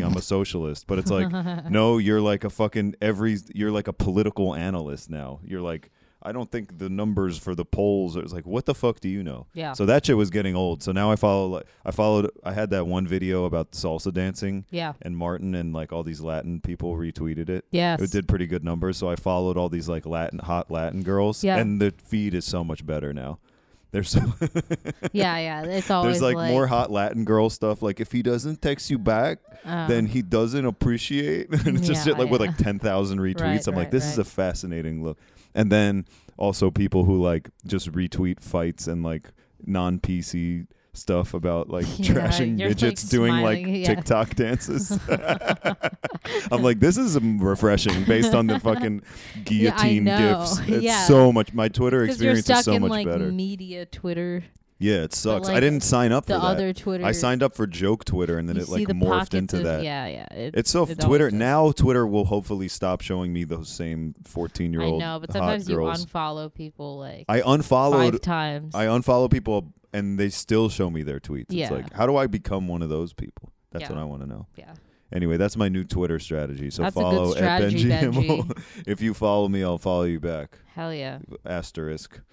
Speaker 4: I'm a socialist. But it's like, no, you're like a fucking every, you're like a political analyst now. You're like, I don't think the numbers for the polls. It's like, what the fuck do you know?
Speaker 3: Yeah.
Speaker 4: So that shit was getting old. So now I follow, like, I followed, I had that one video about salsa dancing.
Speaker 3: Yeah.
Speaker 4: And Martin and like all these Latin people retweeted it.
Speaker 3: Yes.
Speaker 4: It did pretty good numbers. So I followed all these like Latin, hot Latin girls.
Speaker 3: Yeah.
Speaker 4: And the feed is so much better now. They're so
Speaker 3: yeah. Yeah. It's always
Speaker 4: there's like, more hot Latin girl stuff. Like if he doesn't text you back,
Speaker 3: Uh,
Speaker 4: then he doesn't appreciate. and it's just
Speaker 3: Yeah,
Speaker 4: shit like with
Speaker 3: yeah.
Speaker 4: like ten thousand retweets.
Speaker 3: Right,
Speaker 4: I'm
Speaker 3: right,
Speaker 4: like, this is
Speaker 3: right.
Speaker 4: a fascinating look. And then also people who like just retweet fights and like non PC stuff about like
Speaker 3: Yeah,
Speaker 4: trashing
Speaker 3: you're, like,
Speaker 4: midgets doing like
Speaker 3: smiling, yeah.
Speaker 4: TikTok dances. I'm like, this is um, refreshing based on the fucking guillotine
Speaker 3: know.
Speaker 4: gifs. It's
Speaker 3: Yeah.
Speaker 4: so much. My Twitter
Speaker 3: Because you're
Speaker 4: experience
Speaker 3: stuck
Speaker 4: is so
Speaker 3: in
Speaker 4: much
Speaker 3: like
Speaker 4: better.
Speaker 3: media Twitter,
Speaker 4: yeah, it sucks. I
Speaker 3: like,
Speaker 4: didn't sign up
Speaker 3: the
Speaker 4: for that.
Speaker 3: other Twitter.
Speaker 4: I signed up for joke Twitter, and then
Speaker 3: you
Speaker 4: it
Speaker 3: see
Speaker 4: like
Speaker 3: the
Speaker 4: morphed
Speaker 3: pockets
Speaker 4: into
Speaker 3: of-
Speaker 4: that.
Speaker 3: Yeah, yeah. It,
Speaker 4: It's so
Speaker 3: it always
Speaker 4: Twitter
Speaker 3: does.
Speaker 4: now. Twitter will hopefully stop showing me those same
Speaker 3: I
Speaker 4: fourteen-year-old
Speaker 3: know, but
Speaker 4: hot
Speaker 3: sometimes you
Speaker 4: girls.
Speaker 3: unfollow people like
Speaker 4: I unfollowed.
Speaker 3: five times.
Speaker 4: I unfollow people, and they still show me their tweets.
Speaker 3: Yeah.
Speaker 4: It's like, how do I become one of those people? That's
Speaker 3: Yeah.
Speaker 4: what I want to know.
Speaker 3: yeah.
Speaker 4: Anyway, that's my new Twitter strategy. So
Speaker 3: That's a good
Speaker 4: follow at
Speaker 3: strategy,
Speaker 4: Benji, Himmel. if you follow me, I'll follow you back.
Speaker 3: Hell yeah.
Speaker 4: Asterisk.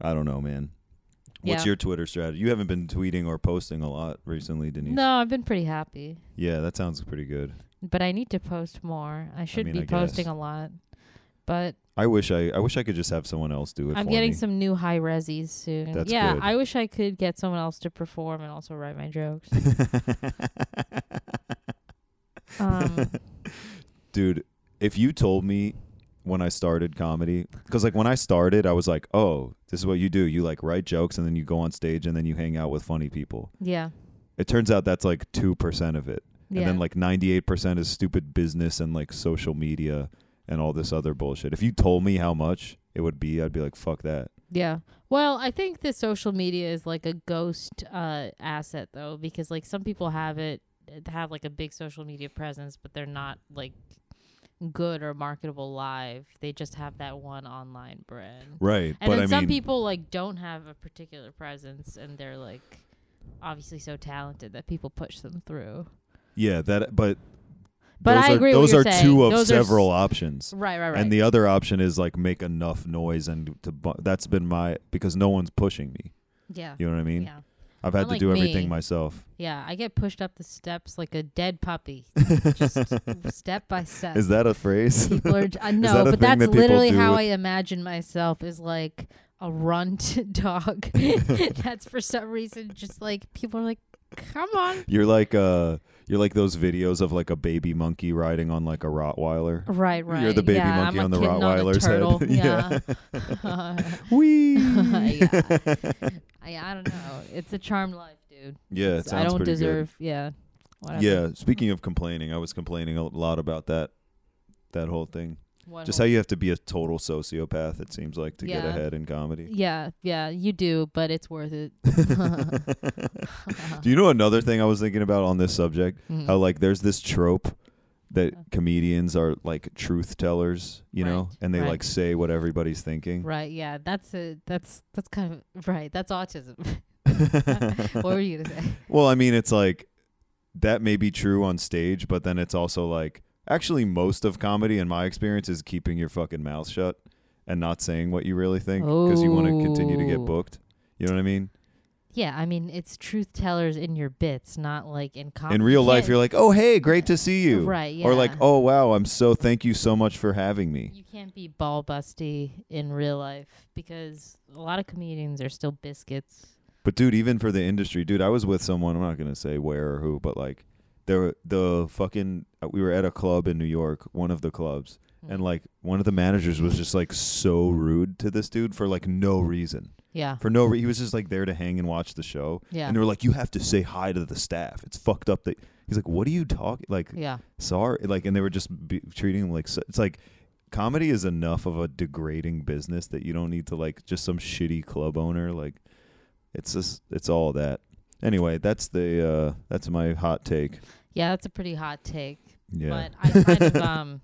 Speaker 4: I don't know, man. What's
Speaker 3: Yeah.
Speaker 4: your Twitter strategy? You haven't been tweeting or posting a lot recently, Denise.
Speaker 3: No, I've been pretty happy.
Speaker 4: Yeah, that sounds pretty good.
Speaker 3: But I need to post more. I should
Speaker 4: mean, I
Speaker 3: be
Speaker 4: guess.
Speaker 3: posting a lot. But
Speaker 4: I wish I I wish I could just have someone else do it
Speaker 3: I'm
Speaker 4: for
Speaker 3: getting
Speaker 4: me.
Speaker 3: some new high resis soon.
Speaker 4: That's
Speaker 3: yeah,
Speaker 4: good.
Speaker 3: I wish I could get someone else to perform and also write my jokes. Um,
Speaker 4: Dude, if you told me when I started comedy, because like when I started, I was like, oh, this is what you do. You like write jokes and then you go on stage and then you hang out with funny people.
Speaker 3: yeah.
Speaker 4: It turns out that's like 2% of it.
Speaker 3: Yeah.
Speaker 4: And then like 98% is stupid business and like social media and all this other bullshit. If you told me how much it would be, I'd be like, fuck that.
Speaker 3: yeah. Well, I think that social media is like a ghost uh, asset though, because like some people have it uh, have like a big social media presence, but they're not like good or marketable live. They just have that one online brand.
Speaker 4: Right.
Speaker 3: And
Speaker 4: but
Speaker 3: then
Speaker 4: I
Speaker 3: some
Speaker 4: mean,
Speaker 3: people like don't have a particular presence and they're like obviously so talented that people push them through.
Speaker 4: yeah, that, but.
Speaker 3: But
Speaker 4: those
Speaker 3: I
Speaker 4: are,
Speaker 3: agree with
Speaker 4: Those
Speaker 3: what
Speaker 4: are
Speaker 3: you're
Speaker 4: two
Speaker 3: saying.
Speaker 4: of
Speaker 3: Those are s-
Speaker 4: several options.
Speaker 3: Right, right, right.
Speaker 4: And the other option is like make enough noise, and to bu- that's been my because no one's pushing me.
Speaker 3: yeah.
Speaker 4: You know what I mean?
Speaker 3: Yeah.
Speaker 4: I've had to
Speaker 3: Unlike
Speaker 4: do everything
Speaker 3: me.
Speaker 4: myself.
Speaker 3: Yeah, I get pushed up the steps like a dead puppy. Just step by step.
Speaker 4: Is that a phrase?
Speaker 3: people are j- uh, no,
Speaker 4: that a
Speaker 3: but
Speaker 4: thing
Speaker 3: that's
Speaker 4: that people
Speaker 3: literally
Speaker 4: do
Speaker 3: how
Speaker 4: with-
Speaker 3: I imagine myself is like a runt dog. that's for some reason just like people are like, "Come on."
Speaker 4: you're like uh, you're like those videos of like a baby monkey riding on like a Rottweiler.
Speaker 3: Right, right.
Speaker 4: You're the baby
Speaker 3: yeah,
Speaker 4: monkey
Speaker 3: I'm a
Speaker 4: on the
Speaker 3: kitten on a
Speaker 4: Rottweiler's
Speaker 3: turtle.
Speaker 4: head.
Speaker 3: Yeah.
Speaker 4: Wee.
Speaker 3: yeah. I, I don't know. It's a charmed life, dude.
Speaker 4: Yeah, it
Speaker 3: It's-
Speaker 4: sounds
Speaker 3: I don't
Speaker 4: pretty
Speaker 3: deserve. Yeah. Whatever.
Speaker 4: Good. Yeah. Speaking of complaining, I was complaining a lot about that that whole thing.
Speaker 3: What
Speaker 4: Just
Speaker 3: whole-
Speaker 4: how you have to be a total sociopath. It seems like to get
Speaker 3: Yeah.
Speaker 4: ahead in comedy.
Speaker 3: yeah, yeah, you do, but it's worth it.
Speaker 4: Do you know another thing I was thinking about on this subject?
Speaker 3: Mm.
Speaker 4: How like there's this trope that comedians are like truth tellers, you know,
Speaker 3: Right,
Speaker 4: and they
Speaker 3: right.
Speaker 4: like say what everybody's thinking.
Speaker 3: Right? Yeah, that's a that's that's kind of right. That's autism. what were you gonna say?
Speaker 4: Well, I mean, it's like that may be true on stage, but then it's also like actually most of comedy, in my experience, is keeping your fucking mouth shut and not saying what you really think because you want to continue to get
Speaker 3: Oh.
Speaker 4: booked. You know what I mean?
Speaker 3: Yeah, I mean it's truth tellers in your bits, not like in comedy.
Speaker 4: In real life, you're like, oh, hey, great to see you.
Speaker 3: Right,
Speaker 4: Or like,
Speaker 3: yeah.
Speaker 4: oh, wow, I'm so, thank you so much for having me.
Speaker 3: You can't be ball busty in real life because a lot of comedians are still biscuits.
Speaker 4: But dude, even for the industry, dude, I was with someone. I'm not gonna say where or who, but like, there were- the fucking uh, we were at a club in New York, one of the clubs,
Speaker 3: Hmm.
Speaker 4: and like one of the managers was just like so rude to this dude for like no reason,
Speaker 3: Yeah.
Speaker 4: for no. Re- he was just like there to hang and watch the show.
Speaker 3: Yeah.
Speaker 4: And they were like, you have to say hi to the staff. It's fucked up that he's like, what are you talking? Like,
Speaker 3: Yeah.
Speaker 4: sorry, like, and they were just be- treating him like so- it's like. Comedy is enough of a degrading business that you don't need to like just some shitty club owner like it's just it's all that anyway that's the uh that's my hot take
Speaker 3: Yeah, that's a pretty hot take.
Speaker 4: yeah
Speaker 3: But I kind of um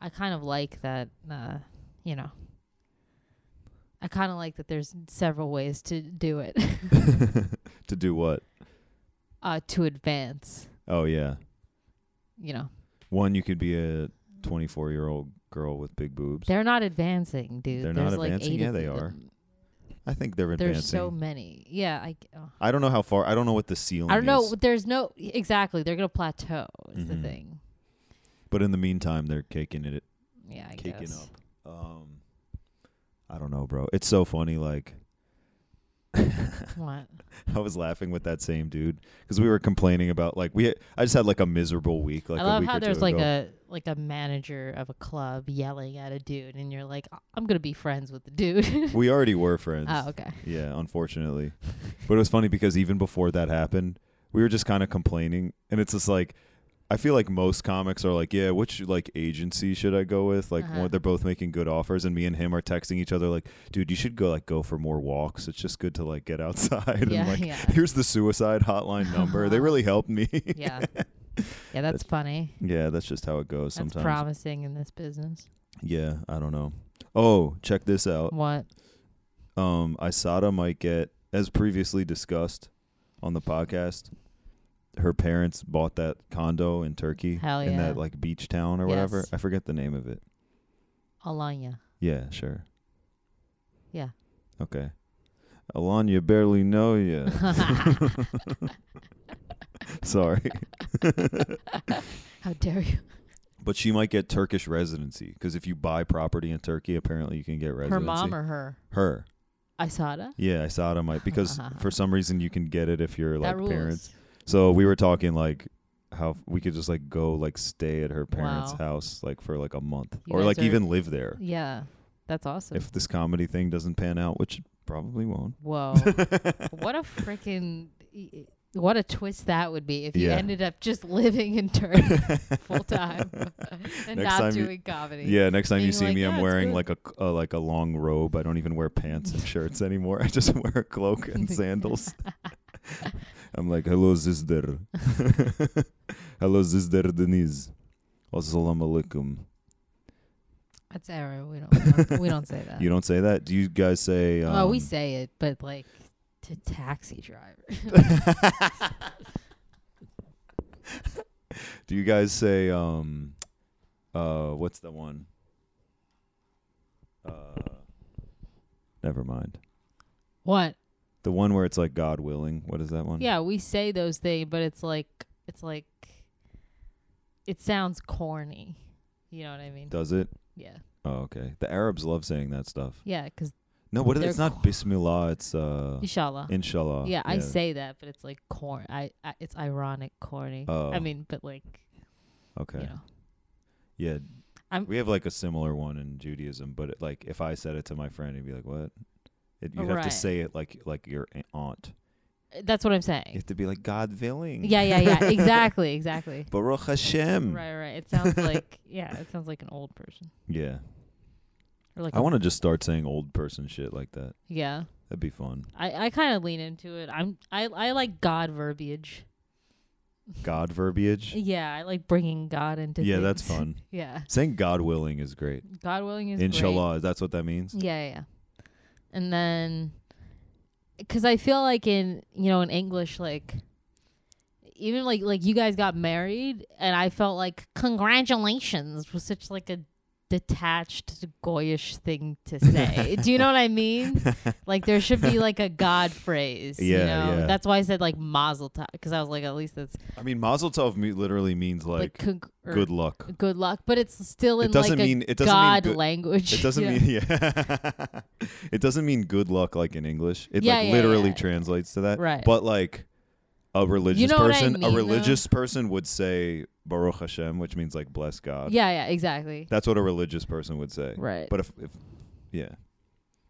Speaker 3: I kind of like that uh you know I kind of like that there's several ways to do it um,
Speaker 4: to do what
Speaker 3: uh to advance,
Speaker 4: oh yeah
Speaker 3: you know.
Speaker 4: one you could be a 24 year old girl with big boobs
Speaker 3: They're not advancing, dude.
Speaker 4: They're
Speaker 3: there's
Speaker 4: not
Speaker 3: like
Speaker 4: advancing?
Speaker 3: Eight
Speaker 4: Yeah,
Speaker 3: of
Speaker 4: they
Speaker 3: them.
Speaker 4: are. i think they're advancing
Speaker 3: There's so many. Yeah, I g- oh.
Speaker 4: i don't know how far i don't know what the ceiling
Speaker 3: I don't know.
Speaker 4: is,
Speaker 3: There's no exactly. They're gonna plateau. Is
Speaker 4: Mhm.
Speaker 3: the thing.
Speaker 4: but in the meantime they're caking it
Speaker 3: Yeah, I
Speaker 4: Kicking
Speaker 3: guess.
Speaker 4: up. Um, I don't know, bro. It's so funny. Like,
Speaker 3: What?
Speaker 4: I was laughing with that same dude because we were complaining about like we. I just had like a miserable week. Like
Speaker 3: I
Speaker 4: a
Speaker 3: love
Speaker 4: week
Speaker 3: how
Speaker 4: or two
Speaker 3: there's like
Speaker 4: ago.
Speaker 3: a like a manager of a club yelling at a dude, and you're like, I'm gonna be friends with the dude.
Speaker 4: We already were friends.
Speaker 3: oh, okay.
Speaker 4: Yeah, unfortunately. but it was funny because even before that happened, we were just kind of complaining. And it's just like, I feel like most comics are like, yeah, which like agency should I go with? Like,
Speaker 3: Uh-huh.
Speaker 4: what- they're both making good offers, and me and him are texting each other like, dude, you should go like go for more walks. It's just good to like get outside.
Speaker 3: Yeah,
Speaker 4: and like,
Speaker 3: yeah.
Speaker 4: here's the suicide hotline number. they really helped me.
Speaker 3: Yeah. Yeah, that's funny.
Speaker 4: yeah, that's just how it goes
Speaker 3: That's
Speaker 4: sometimes.
Speaker 3: promising in this business.
Speaker 4: yeah, I don't know. Oh, check this out.
Speaker 3: What?
Speaker 4: um, Isada might get, as previously discussed on the podcast, her parents bought that condo in Turkey
Speaker 3: Hell
Speaker 4: in that
Speaker 3: yeah.
Speaker 4: like beach town or whatever.
Speaker 3: Yes.
Speaker 4: I forget the name of it.
Speaker 3: Alanya.
Speaker 4: Yeah, sure.
Speaker 3: Yeah.
Speaker 4: Okay. Alanya barely know ya. Sorry,
Speaker 3: How dare you?
Speaker 4: but she might get Turkish residency because if you buy property in Turkey, apparently you can get residency.
Speaker 3: Her mom or her?
Speaker 4: her.
Speaker 3: Isada?
Speaker 4: Yeah, Isada might because for some reason you can get it if you're
Speaker 3: that
Speaker 4: like
Speaker 3: rules.
Speaker 4: parents. So we were talking like how f- we could just like go like stay at her parents'
Speaker 3: Wow.
Speaker 4: house like for like a month
Speaker 3: You
Speaker 4: or
Speaker 3: guys
Speaker 4: like
Speaker 3: are-
Speaker 4: even live there
Speaker 3: Yeah. That's awesome.
Speaker 4: if this comedy thing doesn't pan out, which it probably won't.
Speaker 3: Whoa. Oh, what a freaking e, what a twist that would be if you
Speaker 4: Yeah.
Speaker 3: ended up just living in Turkey full time and
Speaker 4: Next
Speaker 3: not
Speaker 4: time you-
Speaker 3: doing comedy.
Speaker 4: Yeah, next time
Speaker 3: And
Speaker 4: you
Speaker 3: you're
Speaker 4: see
Speaker 3: like,
Speaker 4: me,
Speaker 3: "Yeah,
Speaker 4: I'm
Speaker 3: it's
Speaker 4: wearing
Speaker 3: good."
Speaker 4: like a, c- uh, like a long robe. I don't even wear pants and shirts anymore. I just wear a cloak and sandals. I'm like, hello, sister. hello, sister Denise. Assalamu alaikum.
Speaker 3: That's error. We don't we don't, we don't say that.
Speaker 4: You don't say that? Do you guys say? Um,
Speaker 3: oh, we say it, but like to taxi driver.
Speaker 4: Do you guys say um uh what's the one? Uh never mind.
Speaker 3: What?
Speaker 4: The one where it's like God willing. What is that one?
Speaker 3: Yeah, we say those things, but it's like it's like it sounds corny. You know what I mean?
Speaker 4: Does it?
Speaker 3: Yeah.
Speaker 4: Oh, okay. The Arabs love saying that stuff.
Speaker 3: Yeah, cuz
Speaker 4: No, what is
Speaker 3: They're
Speaker 4: it's not
Speaker 3: qu-
Speaker 4: Bismillah, it's uh
Speaker 3: inshallah.
Speaker 4: Inshallah.
Speaker 3: yeah, I say that, but it's like corn. I, I it's ironic corny. I
Speaker 4: Oh.
Speaker 3: mean, but like
Speaker 4: Okay.
Speaker 3: you know,
Speaker 4: Yeah.
Speaker 3: I'm-
Speaker 4: we have like a similar one in Judaism, but it, like if I said it to my friend, he'd be like, "What?" It, you have to
Speaker 3: Right.
Speaker 4: say it like like your a- aunt.
Speaker 3: that's what I'm
Speaker 4: You
Speaker 3: saying.
Speaker 4: have to be like God willing.
Speaker 3: Yeah, yeah, yeah. exactly, exactly.
Speaker 4: Baruch Hashem.
Speaker 3: Right, right. It sounds like yeah, it sounds like an old person
Speaker 4: Yeah,
Speaker 3: or like
Speaker 4: I
Speaker 3: a-
Speaker 4: want to just start saying old person shit like that.
Speaker 3: yeah.
Speaker 4: That'd be fun.
Speaker 3: I I kind of lean into it. I'm I I like God verbiage.
Speaker 4: God verbiage.
Speaker 3: Yeah, I like bringing God into.
Speaker 4: yeah,
Speaker 3: things.
Speaker 4: that's fun.
Speaker 3: Yeah,
Speaker 4: Saying God willing is great.
Speaker 3: God willing is great.
Speaker 4: Inshallah, that's what that means.
Speaker 3: Yeah, yeah, yeah. And then, because I feel like in you know in English, like even like like you guys got married, and I felt like congratulations was such like a detached goyish thing to say. Do you know what I mean? Like there should be like a God phrase. you
Speaker 4: Yeah,
Speaker 3: know?
Speaker 4: yeah.
Speaker 3: That's why I said like Mazel Tov because I was like at least that's
Speaker 4: I mean, Mazel Tov me- literally means
Speaker 3: like,
Speaker 4: like
Speaker 3: congr- or
Speaker 4: good luck.
Speaker 3: good luck, but it's still in
Speaker 4: It
Speaker 3: like
Speaker 4: doesn't
Speaker 3: a
Speaker 4: mean it doesn't mean
Speaker 3: God
Speaker 4: good,
Speaker 3: language.
Speaker 4: It doesn't
Speaker 3: you know?
Speaker 4: mean yeah. it doesn't mean good luck like in English. It
Speaker 3: Yeah,
Speaker 4: like
Speaker 3: yeah,
Speaker 4: literally
Speaker 3: yeah.
Speaker 4: translates to that.
Speaker 3: Right.
Speaker 4: But like a religious
Speaker 3: know what I
Speaker 4: person,
Speaker 3: mean,
Speaker 4: a
Speaker 3: though?
Speaker 4: religious person would say Baruch Hashem, which means like bless God.
Speaker 3: Yeah, yeah, exactly.
Speaker 4: That's what a religious person would say.
Speaker 3: Right.
Speaker 4: But if, if yeah.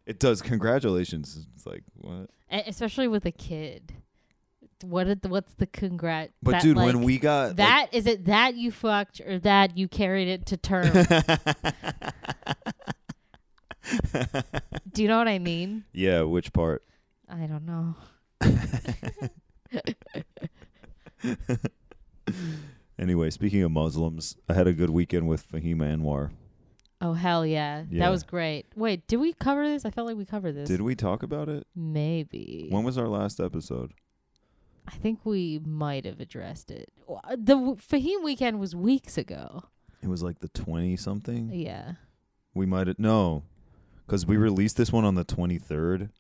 Speaker 4: It does. Congratulations. It's like what?
Speaker 3: E- especially with a kid. What did what's the congrat?
Speaker 4: But
Speaker 3: that,
Speaker 4: dude,
Speaker 3: like,
Speaker 4: when we got like,
Speaker 3: that is it that you fucked or that you carried it to term? Do you know what I mean?
Speaker 4: yeah, which part?
Speaker 3: I don't know.
Speaker 4: Anyway, speaking of Muslims, I had a good weekend with Fahima Anwar.
Speaker 3: Oh hell yeah,
Speaker 4: Yeah.
Speaker 3: that was great. Wait, did we cover this? I felt like we covered this.
Speaker 4: Did we talk about it?
Speaker 3: Maybe.
Speaker 4: When was our last episode?
Speaker 3: I think we might have addressed it. Wha- The w- Fahim weekend was weeks ago.
Speaker 4: It was like the 20 something.
Speaker 3: Yeah.
Speaker 4: We might have, no, because we released this one on the 23rd,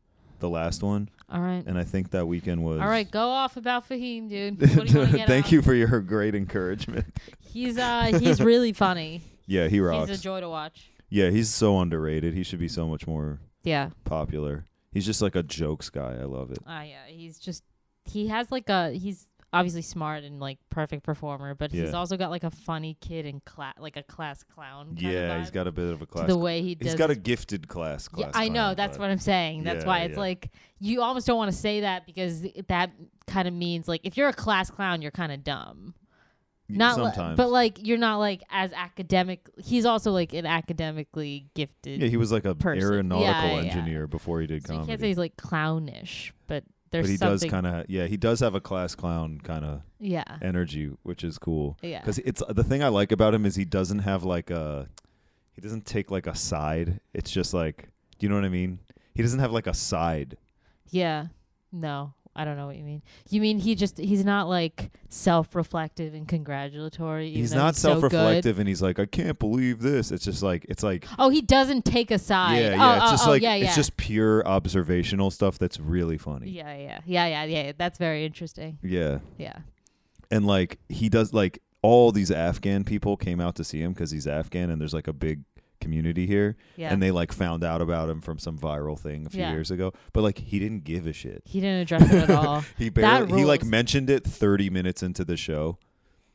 Speaker 4: the last one.
Speaker 3: All right.
Speaker 4: And I think that weekend was.
Speaker 3: All right, go off about Fahim, dude. What do you wanna get
Speaker 4: Thank
Speaker 3: off?
Speaker 4: you for your great encouragement.
Speaker 3: He's uh he's really funny.
Speaker 4: Yeah, he rocks.
Speaker 3: He's a joy to watch.
Speaker 4: yeah, he's so underrated. He should be so much more
Speaker 3: Yeah.
Speaker 4: popular. He's just like a jokes guy. I love it.
Speaker 3: Ah, yeah, he's just he has like a he's obviously smart and like perfect performer, but he's
Speaker 4: Yeah.
Speaker 3: also got like a funny kid and cla- like a class clown. Kind
Speaker 4: yeah,
Speaker 3: of
Speaker 4: he's
Speaker 3: vibe
Speaker 4: got a bit of a
Speaker 3: to
Speaker 4: class.
Speaker 3: the way he does.
Speaker 4: he's got a
Speaker 3: his-
Speaker 4: gifted class.
Speaker 3: Yeah,
Speaker 4: class
Speaker 3: I know.
Speaker 4: clown,
Speaker 3: That's
Speaker 4: but-
Speaker 3: what I'm saying. That's
Speaker 4: Yeah,
Speaker 3: why it's
Speaker 4: yeah.
Speaker 3: like you almost don't want to say that because that kind of means like if you're a class clown, you're kind of dumb. Not li-
Speaker 4: sometimes.
Speaker 3: but like you're not like as academic. He's also like an academically gifted.
Speaker 4: yeah, he was like a
Speaker 3: person. Yeah,
Speaker 4: aeronautical
Speaker 3: yeah, yeah.
Speaker 4: engineer before he did
Speaker 3: so you
Speaker 4: comedy.
Speaker 3: can't say he's like clownish, but there's
Speaker 4: but he does
Speaker 3: something.
Speaker 4: kind of yeah, he does have a class clown kind of
Speaker 3: yeah,
Speaker 4: energy, which is cool.
Speaker 3: yeah.
Speaker 4: Because it's the thing I like about him is he doesn't have like a he doesn't take like a side. It's just like do you know what I mean? He doesn't have like a side.
Speaker 3: Yeah. No, I don't know what you mean. You mean he just he's not like self-reflective and congratulatory. even
Speaker 4: he's
Speaker 3: though
Speaker 4: not
Speaker 3: so good?
Speaker 4: self-reflective, and he's like, I can't believe this. It's just like it's like
Speaker 3: oh, he doesn't take a side.
Speaker 4: yeah,
Speaker 3: oh,
Speaker 4: yeah. It's
Speaker 3: oh,
Speaker 4: just
Speaker 3: oh,
Speaker 4: like
Speaker 3: yeah, yeah.
Speaker 4: it's just pure observational stuff that's really funny.
Speaker 3: yeah, yeah, yeah, yeah, yeah. That's very interesting.
Speaker 4: Yeah.
Speaker 3: Yeah.
Speaker 4: and like he does like all these afghan people came out to see him because he's afghan and there's like a big community here
Speaker 3: Yeah.
Speaker 4: and they like found out about him from some viral thing a few
Speaker 3: Yeah.
Speaker 4: years ago but like he didn't give a shit
Speaker 3: he didn't address it at all.
Speaker 4: he
Speaker 3: That
Speaker 4: barely he like
Speaker 3: rules.
Speaker 4: mentioned it 30 minutes into the show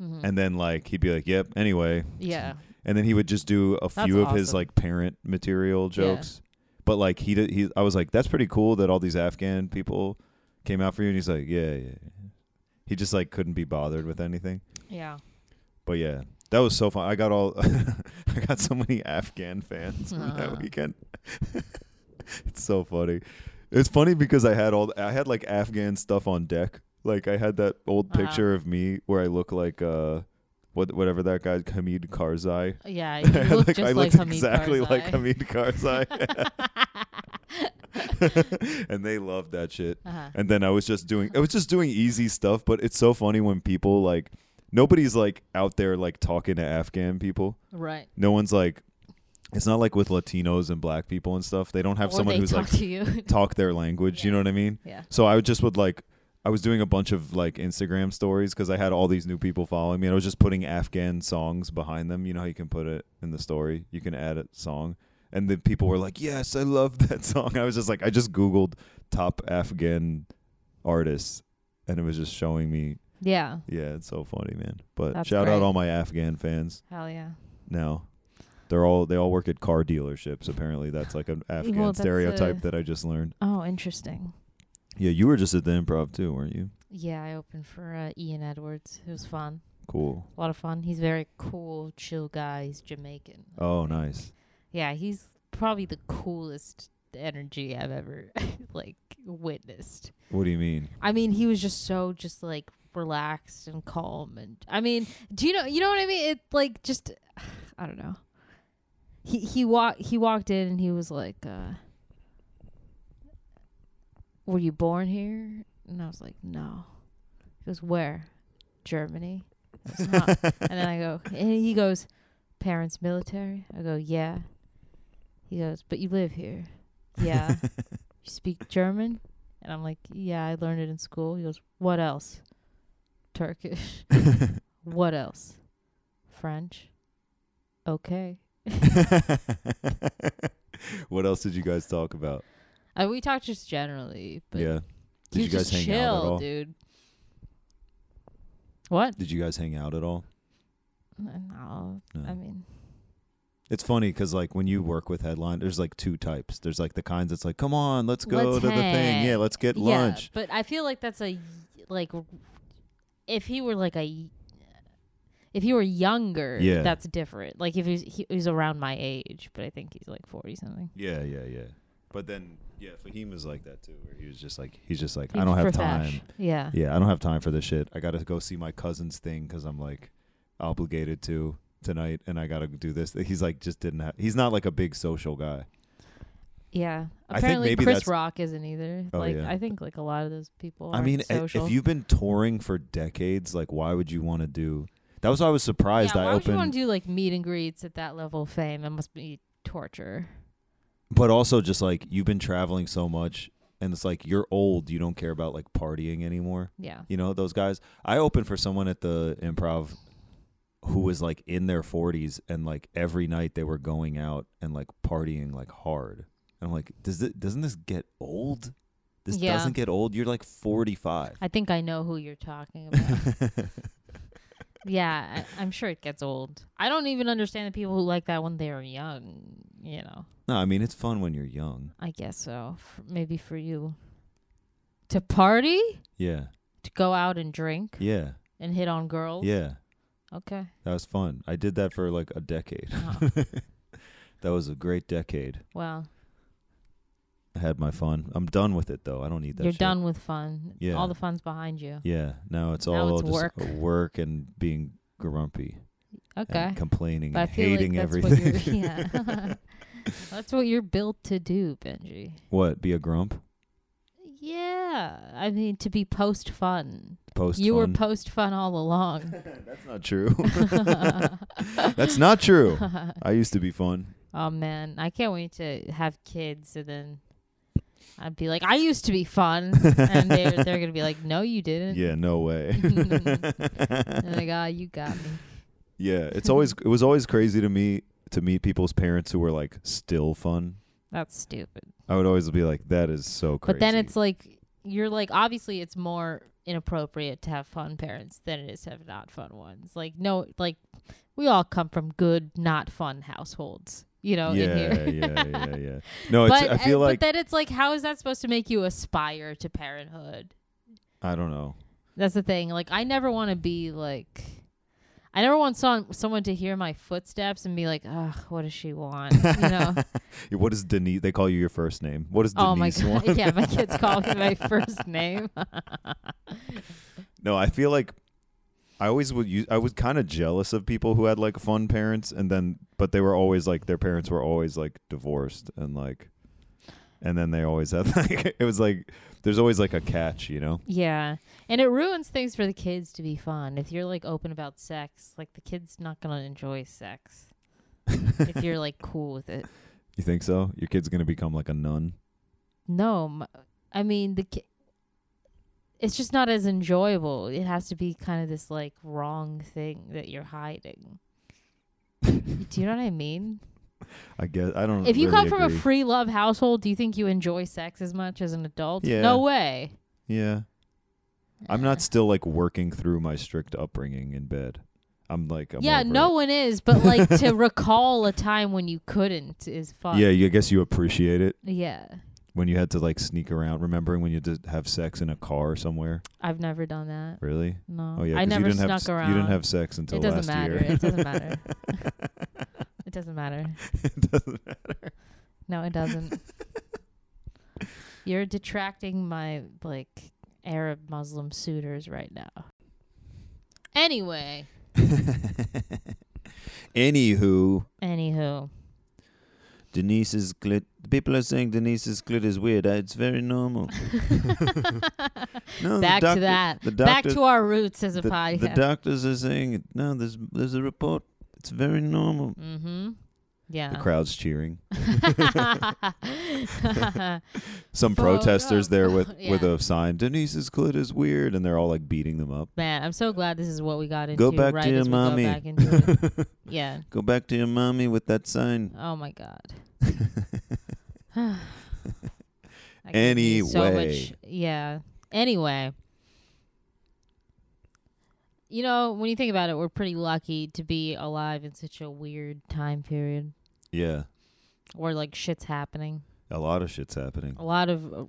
Speaker 3: Mhm.
Speaker 4: and then like he'd be like yep anyway
Speaker 3: yeah.
Speaker 4: and then he would just do a
Speaker 3: That's
Speaker 4: few of his
Speaker 3: awesome.
Speaker 4: like parent material
Speaker 3: Yeah.
Speaker 4: jokes but like he did he i was like that's pretty cool that all these afghan people came out for you and he's like yeah yeah yeah." he just like couldn't be bothered with anything
Speaker 3: Yeah.
Speaker 4: But yeah, that was so fun. I got all, I got so many Afghan fans from
Speaker 3: Uh-huh.
Speaker 4: that weekend. it's so funny. It's funny because I had all, I had like Afghan stuff on deck. Like I had that old
Speaker 3: Uh-huh.
Speaker 4: picture of me where I look like uh, what whatever that guy Hamid Karzai.
Speaker 3: Yeah. You
Speaker 4: I
Speaker 3: look
Speaker 4: look-
Speaker 3: just
Speaker 4: I
Speaker 3: like
Speaker 4: looked
Speaker 3: Hamid
Speaker 4: exactly like
Speaker 3: Karzai.
Speaker 4: Hamid Karzai, and they loved that shit.
Speaker 3: Uh-huh.
Speaker 4: And then I was just doing I was just doing easy stuff, but it's so funny when people like nobody's like out there like talking to Afghan people.
Speaker 3: Right.
Speaker 4: No one's like it's not like with Latinos and black people and stuff. They don't have
Speaker 3: or
Speaker 4: someone
Speaker 3: they
Speaker 4: who's
Speaker 3: talk
Speaker 4: like
Speaker 3: to you.
Speaker 4: talk their language, you
Speaker 3: Yeah.
Speaker 4: know what I mean?
Speaker 3: yeah.
Speaker 4: So I would just would like I was doing a bunch of like Instagram stories because I had all these new people following me, and I was just putting Afghan songs behind them. You know how you can put it in the story, you can add a song, and the people were like, "Yes, I love that song." I was just like, I just googled top Afghan artists, and it was just showing me.
Speaker 3: Yeah.
Speaker 4: Yeah, it's so funny, man. But
Speaker 3: That's
Speaker 4: shout out
Speaker 3: great.
Speaker 4: all my Afghan fans
Speaker 3: Hell yeah.
Speaker 4: now. They're all they all work at car dealerships. Apparently, that's like an Afghan
Speaker 3: that's
Speaker 4: stereotype
Speaker 3: a-
Speaker 4: that I just learned.
Speaker 3: Oh, interesting.
Speaker 4: Yeah, you were just at the improv too, weren't you?
Speaker 3: Yeah, I opened for uh, Ian Edwards. It was fun.
Speaker 4: Cool.
Speaker 3: A lot of fun. He's very cool, chill guy. He's Jamaican.
Speaker 4: Oh, nice.
Speaker 3: Yeah, he's probably the coolest energy I've ever like witnessed.
Speaker 4: What do you mean?
Speaker 3: I mean, he was just so just like relaxed and calm and I mean, do you know you know what I mean? It like just I don't know. He he walked he walked in and he was like uh Were you born here? And I was like, "No." He goes, "Where?" "Germany." I was, "Huh." and then I go, and he goes, "Parents military?" I go, "Yeah." He goes, "But you live here." "Yeah." you speak German? And I'm like, yeah, I learned it in school. He goes, what else? Turkish. what else? French. Okay.
Speaker 4: what else did you guys talk about?
Speaker 3: Uh, we talked just generally, but
Speaker 4: yeah.
Speaker 3: he
Speaker 4: Did you
Speaker 3: was
Speaker 4: guys
Speaker 3: just
Speaker 4: hang
Speaker 3: chill,
Speaker 4: out at all?
Speaker 3: dude. What?
Speaker 4: Did you guys hang out at all?
Speaker 3: No,
Speaker 4: No.
Speaker 3: I mean,
Speaker 4: It's funny because like when you work with headline, there's like two types. There's like the kinds that's like, come on, let's go
Speaker 3: Let's
Speaker 4: to the
Speaker 3: hang."
Speaker 4: thing. Yeah, let's get lunch.
Speaker 3: Yeah, but I feel like that's a y- like r- if he were like a y- if he were younger,
Speaker 4: Yeah.
Speaker 3: that's different. Like if he's he, he's around my age, but I think he's like forty something.
Speaker 4: Yeah, yeah, yeah. But then yeah, Fahim was like that too, where he was just like, he's just like,
Speaker 3: He's
Speaker 4: I don't have
Speaker 3: for
Speaker 4: time.
Speaker 3: fash. Yeah.
Speaker 4: Yeah, I don't have time for this shit. I gotta go see my cousin's thing because I'm like obligated to tonight, and I gotta do this. He's like just didn't have. He's not like a big social guy.
Speaker 3: Yeah.
Speaker 4: I think
Speaker 3: Apparently,
Speaker 4: maybe
Speaker 3: Chris
Speaker 4: that's-
Speaker 3: Rock isn't either.
Speaker 4: Oh,
Speaker 3: like,
Speaker 4: yeah.
Speaker 3: I think like a lot of those people.
Speaker 4: I
Speaker 3: aren't
Speaker 4: mean, i-
Speaker 3: social.
Speaker 4: if you've been touring for decades, like why would you want to do? That was why I was
Speaker 3: yeah,
Speaker 4: surprised.
Speaker 3: why
Speaker 4: I
Speaker 3: would you want
Speaker 4: opened,
Speaker 3: to do like meet and greets at that level of fame? It must be torture.
Speaker 4: but also just like you've been traveling so much, and it's like you're old. You don't care about like partying anymore.
Speaker 3: Yeah.
Speaker 4: You know those guys. I opened for someone at the improv who was like in their 40s and like every night they were going out and like partying like hard. And I'm like, does it doesn't this get old? This
Speaker 3: Yeah.
Speaker 4: doesn't get old. You're like 45.
Speaker 3: I think I know who you're talking about. yeah, I, I'm sure it gets old. I don't even understand the people who like that when they are young. You know,
Speaker 4: no, I mean it's fun when you're young.
Speaker 3: I guess so. F- maybe for you to party,
Speaker 4: Yeah.
Speaker 3: to go out and drink
Speaker 4: Yeah.
Speaker 3: and hit on girls.
Speaker 4: Yeah.
Speaker 3: Okay.
Speaker 4: That was fun. I did that for like a decade.
Speaker 3: Oh,
Speaker 4: That was a great decade.
Speaker 3: well,
Speaker 4: I had my fun. I'm done with it though. I don't need that
Speaker 3: you're
Speaker 4: shit.
Speaker 3: done with fun.
Speaker 4: Yeah.
Speaker 3: All the fun's behind you.
Speaker 4: Yeah. Now it's
Speaker 3: Now
Speaker 4: all
Speaker 3: it's
Speaker 4: just
Speaker 3: work.
Speaker 4: work and being grumpy
Speaker 3: Okay.
Speaker 4: and complaining
Speaker 3: But I
Speaker 4: and
Speaker 3: feel like
Speaker 4: hating
Speaker 3: that's
Speaker 4: everything.
Speaker 3: What you're, yeah. that's what you're built to do, Benji.
Speaker 4: what? Be a grump?
Speaker 3: Yeah. I mean, to be post fun.
Speaker 4: Post
Speaker 3: You were
Speaker 4: fun?
Speaker 3: post fun all along.
Speaker 4: That's not true. That's not true. I used to be fun.
Speaker 3: oh man, I can't wait to have kids and then I'd be like, I used to be fun, and they're they're gonna be like, No, you didn't.
Speaker 4: Yeah, no way.
Speaker 3: And like, ah, you got me.
Speaker 4: yeah, it's always it was always crazy to me to meet people's parents who were like still fun.
Speaker 3: That's stupid.
Speaker 4: I would always be like, that is so crazy.
Speaker 3: But then it's like you're like obviously it's more inappropriate to have fun parents than it is to have not fun ones. Like no, like we all come from good, not fun households. You know, in here.
Speaker 4: yeah, yeah, yeah, yeah. No, it's, I feel
Speaker 3: uh,
Speaker 4: like
Speaker 3: but then it's like, how is that supposed to make you aspire to parenthood?
Speaker 4: I don't know.
Speaker 3: That's the thing. Like, I never want to be like, I never want some, someone to hear my footsteps and be like, ugh, what does she want? You know?
Speaker 4: Yeah, What is Denise? They call you your first name. What does
Speaker 3: oh my
Speaker 4: Denise
Speaker 3: god!
Speaker 4: want?
Speaker 3: yeah, my kids call me my first name.
Speaker 4: No, I feel like I always would use. I was kind of jealous of people who had like fun parents, and then but they were always like their parents were always like divorced and like, and then they always had like it was like there's always like a catch, you know?
Speaker 3: yeah, and it ruins things for the kids to be fun. If you're like open about sex, like the kid's not gonna enjoy sex. if you're like cool with it.
Speaker 4: You think so? Your kid's gonna become like a nun.
Speaker 3: No, m- I mean the. Ki- it's just not as enjoyable. It has to be kind of this like wrong thing that you're hiding. do you know what I mean?
Speaker 4: I guess I don't.
Speaker 3: If you
Speaker 4: really
Speaker 3: come from
Speaker 4: agree.
Speaker 3: a free love household, do you think you enjoy sex as much as an adult?
Speaker 4: Yeah.
Speaker 3: No way.
Speaker 4: yeah, I'm not still like working through my strict upbringing in bed. I'm like I'm
Speaker 3: yeah,
Speaker 4: over
Speaker 3: no
Speaker 4: it.
Speaker 3: one is, but like to recall a time when you couldn't is fun.
Speaker 4: Yeah, you, I guess you appreciate it
Speaker 3: Yeah.
Speaker 4: when you had to like sneak around. Remembering when you did have sex in a car somewhere.
Speaker 3: I've never done that.
Speaker 4: Really?
Speaker 3: No.
Speaker 4: Oh yeah,
Speaker 3: Mm. I
Speaker 4: 'cause
Speaker 3: never
Speaker 4: you didn't
Speaker 3: snuck
Speaker 4: have, s-
Speaker 3: around.
Speaker 4: You didn't have sex until
Speaker 3: it doesn't
Speaker 4: last
Speaker 3: matter.
Speaker 4: year.
Speaker 3: It doesn't matter. it doesn't matter.
Speaker 4: it doesn't matter.
Speaker 3: No, it doesn't. You're detracting my like Arab Muslim suitors right now. Anyway,
Speaker 4: Anywho,
Speaker 3: anywho,
Speaker 4: Denise's clit. People are saying Denise's clit is weird. Uh, It's very normal. no, the
Speaker 3: back
Speaker 4: doctor-
Speaker 3: to that.
Speaker 4: The
Speaker 3: back
Speaker 4: doctor-
Speaker 3: to our roots as a
Speaker 4: the,
Speaker 3: podcast.
Speaker 4: The doctors are saying it. No, there's there's a report. It's very normal.
Speaker 3: mm-hmm.
Speaker 4: The
Speaker 3: Yeah.
Speaker 4: crowd's cheering.
Speaker 3: The
Speaker 4: Some
Speaker 3: Fuck
Speaker 4: protesters
Speaker 3: up.
Speaker 4: there with with
Speaker 3: Yeah.
Speaker 4: a sign. Denise's clit is weird, and they're all like beating them up.
Speaker 3: Man, I'm so glad this is what we got into.
Speaker 4: Go back to
Speaker 3: right
Speaker 4: your
Speaker 3: as we
Speaker 4: mommy.
Speaker 3: Go back into it. yeah.
Speaker 4: Go back to your mommy with that sign.
Speaker 3: Oh my god. I could be so much,
Speaker 4: Anyway.
Speaker 3: yeah. Anyway, you know, when you think about it, we're pretty lucky to be alive in such a weird time period
Speaker 4: Yeah,
Speaker 3: where like shit's happening.
Speaker 4: a lot of shit's happening.
Speaker 3: A lot of uh,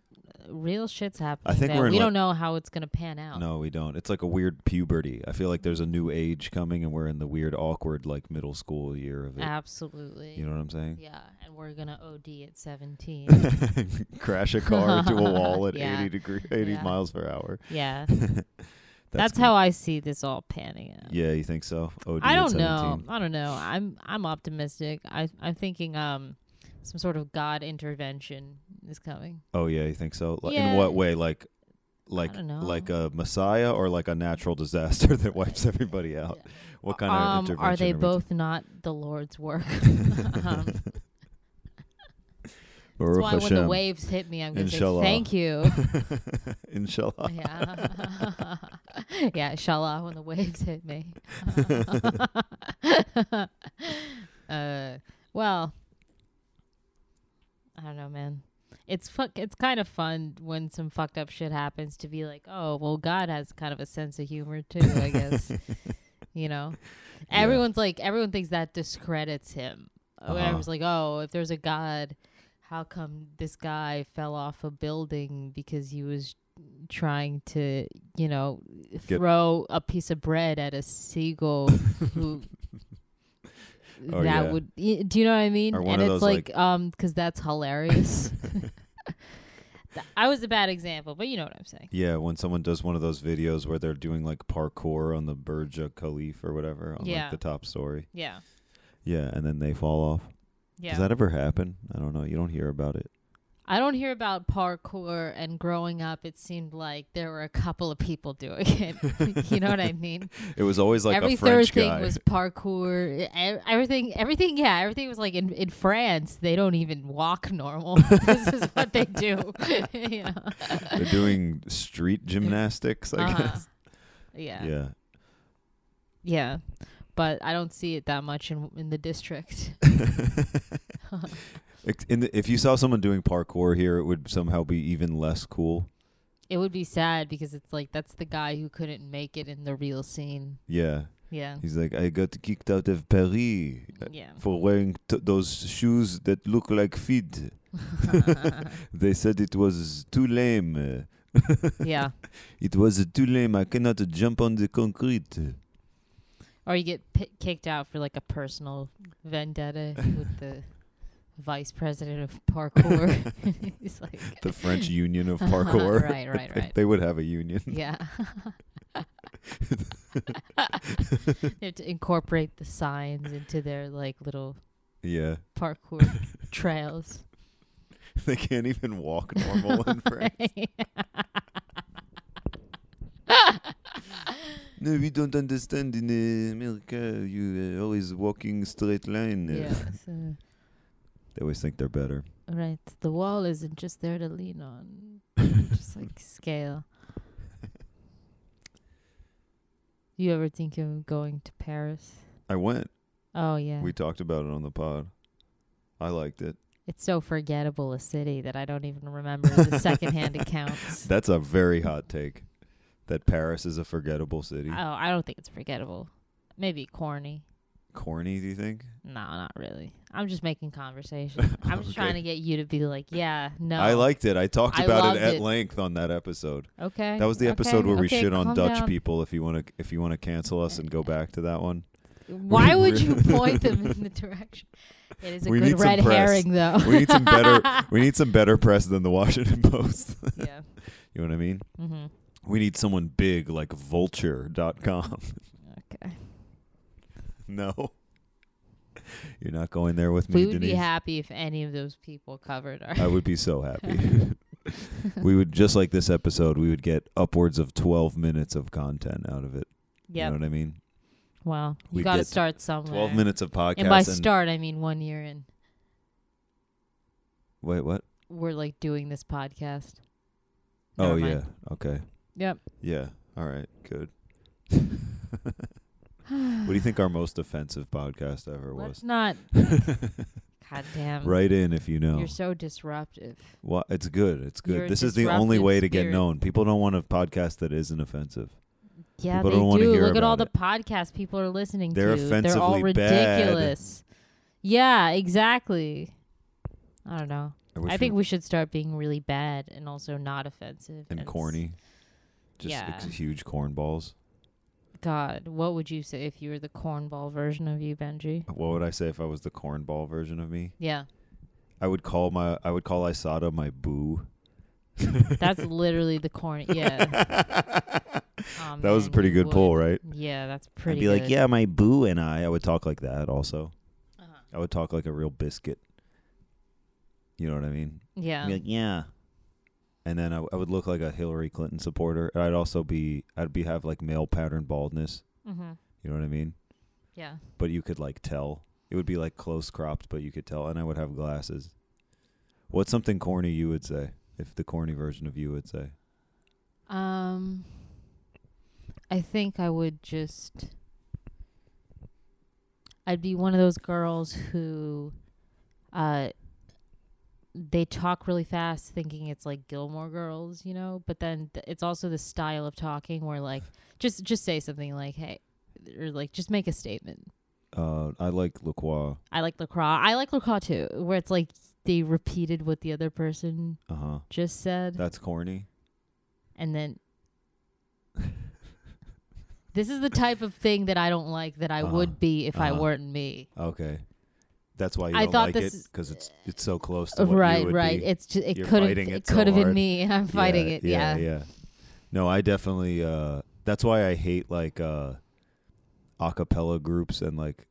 Speaker 3: real shit's happening.
Speaker 4: think
Speaker 3: that
Speaker 4: we're in,
Speaker 3: we
Speaker 4: like-
Speaker 3: don't know how it's gonna pan out.
Speaker 4: No, we don't. It's like a weird puberty. I feel like there's a new age coming, and we're in the weird, awkward, like middle school year of it.
Speaker 3: Ah, Absolutely.
Speaker 4: You know what I'm saying?
Speaker 3: yeah, and we're gonna OD at 17.
Speaker 4: Crash a car into a wall at
Speaker 3: Yeah.
Speaker 4: 80 degree, 80
Speaker 3: Yeah.
Speaker 4: miles per hour.
Speaker 3: yeah, that's,
Speaker 4: That's,
Speaker 3: how I see this all panning out.
Speaker 4: good. Yeah, you think so? OD
Speaker 3: I
Speaker 4: at
Speaker 3: don't know.
Speaker 4: 17.
Speaker 3: I don't know. I'm I'm optimistic. I I'm thinking um some sort of God intervention is coming.
Speaker 4: Oh yeah, you think so? Like,
Speaker 3: Yeah.
Speaker 4: In what way? Like, like,
Speaker 3: don't know.
Speaker 4: like a messiah or like a natural disaster that wipes everybody out? What kind of
Speaker 3: um,
Speaker 4: intervention?
Speaker 3: are they
Speaker 4: we
Speaker 3: both not the Lord's work? um,
Speaker 4: ta-
Speaker 3: that's
Speaker 4: Baruch
Speaker 3: why when the
Speaker 4: Hashem.
Speaker 3: waves hit me, I'm gonna
Speaker 4: Inshallah.
Speaker 3: say thank you.
Speaker 4: Inshallah.
Speaker 3: yeah, yeah, inshallah. When the waves hit me. uh, well, I don't know, man. it's fuck. It's kind of fun when some fucked up shit happens to be like, oh, well, God has kind of a sense of humor too. I guess you know, everyone's like, everyone thinks that discredits him. When I
Speaker 4: Uh-huh.
Speaker 3: was like, oh, if there's a God, how come this guy fell off a building because he was trying to, you know,
Speaker 4: Get-
Speaker 3: throw a piece of bread at a seagull who
Speaker 4: Oh,
Speaker 3: that
Speaker 4: yeah.
Speaker 3: would y- do you know what I mean?
Speaker 4: Or one
Speaker 3: and
Speaker 4: of
Speaker 3: it's
Speaker 4: those,
Speaker 3: like, um, because that's hilarious. Th- I was a bad example, but you know what I'm saying.
Speaker 4: Yeah, when someone does one of those videos where they're doing like parkour on the Burj Al Khalif or whatever on
Speaker 3: Yeah.
Speaker 4: like the top story.
Speaker 3: Yeah,
Speaker 4: Yeah, and then they fall off.
Speaker 3: yeah.
Speaker 4: Does that ever happen? I don't know. You don't hear about it.
Speaker 3: I don't hear about parkour. And growing up, it seemed like there were a couple of people doing it. you know what I mean?
Speaker 4: It was always like
Speaker 3: Every
Speaker 4: a French
Speaker 3: third thing
Speaker 4: guy.
Speaker 3: was parkour. E- Everything, everything, yeah, everything was like in, in France. They don't even walk normal. this is what they do. you know?
Speaker 4: They're doing street gymnastics, I
Speaker 3: Uh-huh.
Speaker 4: guess.
Speaker 3: Yeah.
Speaker 4: Yeah.
Speaker 3: Yeah, but I don't see it that much in in the district.
Speaker 4: Ex- In the, if you saw someone doing parkour here, it would somehow be even less cool.
Speaker 3: it would be sad because it's like that's the guy who couldn't make it in the real scene.
Speaker 4: Yeah.
Speaker 3: Yeah,
Speaker 4: He's like, I got kicked out of Paris
Speaker 3: yeah.
Speaker 4: for wearing t- those shoes that look like feet. They said it was too lame.
Speaker 3: yeah.
Speaker 4: It was too lame. I cannot jump on the concrete.
Speaker 3: Or you get pi kicked out for like a personal vendetta with the vice president of parkour. He's like,
Speaker 4: The French Union of Parkour.
Speaker 3: Uh-huh. right, right,
Speaker 4: They-
Speaker 3: right.
Speaker 4: They would have a union.
Speaker 3: Yeah. they have to incorporate the signs into their like little
Speaker 4: Yeah.
Speaker 3: parkour trails.
Speaker 4: They can't even walk normal in France. No, we don't understand. In uh, America, you uh, always walking straight line.
Speaker 3: yeah. So,
Speaker 4: They always think they're better.
Speaker 3: right. The wall isn't just there to lean on. it's just like scale. You ever think of going to Paris?
Speaker 4: I went.
Speaker 3: Oh yeah.
Speaker 4: We talked about it on the pod. I liked it.
Speaker 3: it's so forgettable a city that I don't even remember the secondhand accounts.
Speaker 4: That's a very hot take. That Paris is a forgettable city.
Speaker 3: Oh, I don't think it's forgettable. Maybe corny.
Speaker 4: Corny, do you think?
Speaker 3: No, not really. I'm just making conversation. I'm just trying to
Speaker 4: Okay.
Speaker 3: get you to be like, yeah, no.
Speaker 4: I liked it. I talked
Speaker 3: I
Speaker 4: about
Speaker 3: loved
Speaker 4: it at
Speaker 3: it.
Speaker 4: length on that episode.
Speaker 3: Okay.
Speaker 4: That was the episode
Speaker 3: okay,
Speaker 4: where we
Speaker 3: okay,
Speaker 4: shit on
Speaker 3: calm
Speaker 4: Dutch
Speaker 3: down.
Speaker 4: people. If you want to, if you want to cancel us and go back to that one,
Speaker 3: Why would you point them in the direction? It is a
Speaker 4: We need
Speaker 3: good
Speaker 4: some
Speaker 3: red
Speaker 4: press.
Speaker 3: herring, though.
Speaker 4: we need some better. we need some better press than the Washington Post.
Speaker 3: yeah.
Speaker 4: you know what I mean?
Speaker 3: Mm-hmm.
Speaker 4: We need someone big like Vulture.com.
Speaker 3: Okay.
Speaker 4: no, you're not going there with me,
Speaker 3: We would
Speaker 4: Denise.
Speaker 3: be happy if any of those people covered our.
Speaker 4: I would be so happy. we would just like this episode. We would get upwards of 12 minutes of content out of it. You
Speaker 3: Yep.
Speaker 4: know what I mean?
Speaker 3: Well, you
Speaker 4: We'd
Speaker 3: got to
Speaker 4: get
Speaker 3: start somewhere.
Speaker 4: 12 minutes of podcast.
Speaker 3: And by
Speaker 4: and-
Speaker 3: start, I mean one year in.
Speaker 4: wait, what?
Speaker 3: We're like doing this podcast.
Speaker 4: oh
Speaker 3: Never mind.
Speaker 4: yeah. Okay.
Speaker 3: Yep.
Speaker 4: Yeah. All right. Good. what do you think our most offensive podcast ever
Speaker 3: Let's
Speaker 4: was?
Speaker 3: not. God damn.
Speaker 4: Write in if you know.
Speaker 3: You're so disruptive.
Speaker 4: Well, it's good. It's
Speaker 3: You're a
Speaker 4: good. This is the only
Speaker 3: disruptive
Speaker 4: way to get
Speaker 3: spirit.
Speaker 4: known. People don't want a podcast that isn't offensive.
Speaker 3: Yeah,
Speaker 4: People
Speaker 3: they
Speaker 4: don't wanna
Speaker 3: do.
Speaker 4: hear
Speaker 3: Look at all
Speaker 4: about
Speaker 3: the podcasts people are listening
Speaker 4: They're
Speaker 3: to. They're all
Speaker 4: offensively bad.
Speaker 3: ridiculous. Yeah, exactly. I don't know.
Speaker 4: wish
Speaker 3: I think
Speaker 4: we-
Speaker 3: we should start being really bad and also not offensive
Speaker 4: and
Speaker 3: s-
Speaker 4: corny. Just
Speaker 3: Yeah.
Speaker 4: ex- huge cornballs.
Speaker 3: God, what would you say if you were the cornball version of you, Benji?
Speaker 4: What would I say if I was the cornball version of me?
Speaker 3: Yeah,
Speaker 4: I would call my I would call Isada my boo.
Speaker 3: that's literally the corny. Yeah,
Speaker 4: that
Speaker 3: Aw,
Speaker 4: was a
Speaker 3: man,
Speaker 4: pretty
Speaker 3: you
Speaker 4: good
Speaker 3: would.
Speaker 4: pull, right?
Speaker 3: Yeah, that's pretty.
Speaker 4: I'd be
Speaker 3: good.
Speaker 4: like, yeah, my boo and I. I would talk like that also.
Speaker 3: Uh-huh.
Speaker 4: I would talk like a real biscuit. You know what I mean? I'd
Speaker 3: yeah,
Speaker 4: be like, yeah. And then I, w- I would look like a Hillary Clinton supporter. And I'd also be, I'd be have like male pattern baldness.
Speaker 3: mm-hmm.
Speaker 4: You know what I mean?
Speaker 3: yeah.
Speaker 4: But you could like tell. It would be like close cropped, but you could tell. And I would have glasses. What's something corny you would say if the corny version of you would say?
Speaker 3: Um, I think I would just. I'd be one of those girls who, uh, they talk really fast, thinking it's like Gilmore Girls, you know. But then th- it's also the style of talking where like just just say something like hey, or like just make a statement.
Speaker 4: Uh, I like LaCroix.
Speaker 3: I like lacroix. I like lacroix too, where it's like they repeated what the other person
Speaker 4: Uh huh.
Speaker 3: just said,
Speaker 4: That's corny.
Speaker 3: and then. This is the type of thing that I don't like that I
Speaker 4: Uh-huh.
Speaker 3: would be if I
Speaker 4: Uh-huh.
Speaker 3: weren't me.
Speaker 4: Okay. That's why you
Speaker 3: I
Speaker 4: don't
Speaker 3: thought
Speaker 4: like
Speaker 3: this
Speaker 4: it
Speaker 3: is- Uh,
Speaker 4: because it's it's so close to what you
Speaker 3: Right,
Speaker 4: would
Speaker 3: right.
Speaker 4: be.
Speaker 3: It's just it
Speaker 4: You're
Speaker 3: could have
Speaker 4: fighting
Speaker 3: it
Speaker 4: it so
Speaker 3: could have been
Speaker 4: hard.
Speaker 3: me, and I'm fighting
Speaker 4: Yeah,
Speaker 3: it. Yeah.
Speaker 4: yeah. No, I definitely. Uh, that's why I hate like uh, a cappella groups and like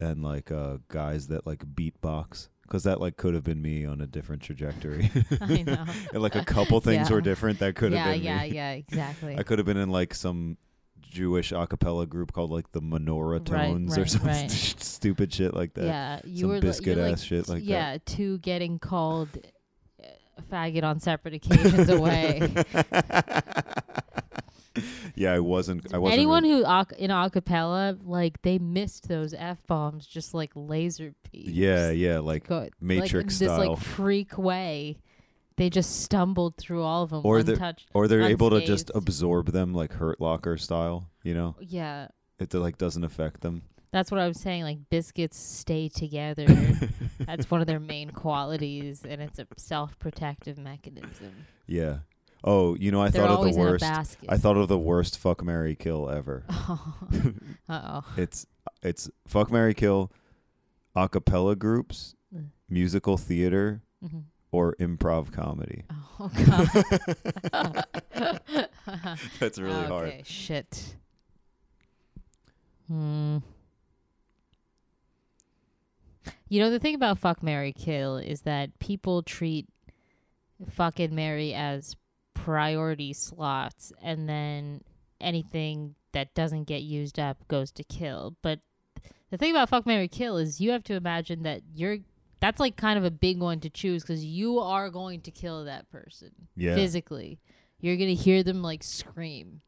Speaker 4: and like uh, guys that like beatbox because that like could have been me on a different trajectory.
Speaker 3: I know.
Speaker 4: and like a couple things
Speaker 3: Yeah.
Speaker 4: were different that could have
Speaker 3: yeah,
Speaker 4: been
Speaker 3: yeah,
Speaker 4: me.
Speaker 3: yeah, exactly.
Speaker 4: I could have been in like some Jewish a cappella group called like the Menorah
Speaker 3: Right,
Speaker 4: Tones or
Speaker 3: right,
Speaker 4: some
Speaker 3: right.
Speaker 4: stupid shit like that.
Speaker 3: yeah, you
Speaker 4: some
Speaker 3: were li-
Speaker 4: biscuit
Speaker 3: you're
Speaker 4: ass shit like that.
Speaker 3: yeah, two getting called uh, faggot on separate occasions away.
Speaker 4: yeah, I wasn't. I wasn't.
Speaker 3: Anyone
Speaker 4: really-
Speaker 3: who ac- in a cappella, like they missed those f bombs, just like laser beams.
Speaker 4: yeah, yeah, like
Speaker 3: Go- like,
Speaker 4: Matrix
Speaker 3: in this
Speaker 4: style.
Speaker 3: like freak way. They just stumbled through all of them
Speaker 4: Or the-
Speaker 3: untouched.
Speaker 4: or they're able to just
Speaker 3: unscathed.
Speaker 4: absorb them like Hurt Locker style. You know,
Speaker 3: yeah,
Speaker 4: it like doesn't affect them.
Speaker 3: That's what I was saying. Like biscuits stay together. That's one of their main qualities, and it's a self-protective mechanism.
Speaker 4: Yeah. Oh, you know, I
Speaker 3: They're
Speaker 4: thought of
Speaker 3: always
Speaker 4: the worst.
Speaker 3: in a basket.
Speaker 4: I thought of the worst fuck Mary kill ever.
Speaker 3: oh, uh-oh.
Speaker 4: it's it's fuck Mary kill, a cappella groups,
Speaker 3: Mm.
Speaker 4: musical theater,
Speaker 3: Mhm.
Speaker 4: or improv comedy.
Speaker 3: oh god.
Speaker 4: That's really
Speaker 3: Oh, okay,
Speaker 4: hard.
Speaker 3: Shit. Hmm. You know the thing about fuck Mary Kill is that people treat fucking Mary as priority slots and then anything that doesn't get used up goes to kill. But the thing about fuck Mary Kill is you have to imagine that you're that's like kind of a big one to choose because you are going to kill that person
Speaker 4: Yeah.
Speaker 3: physically. You're gonna hear them like scream,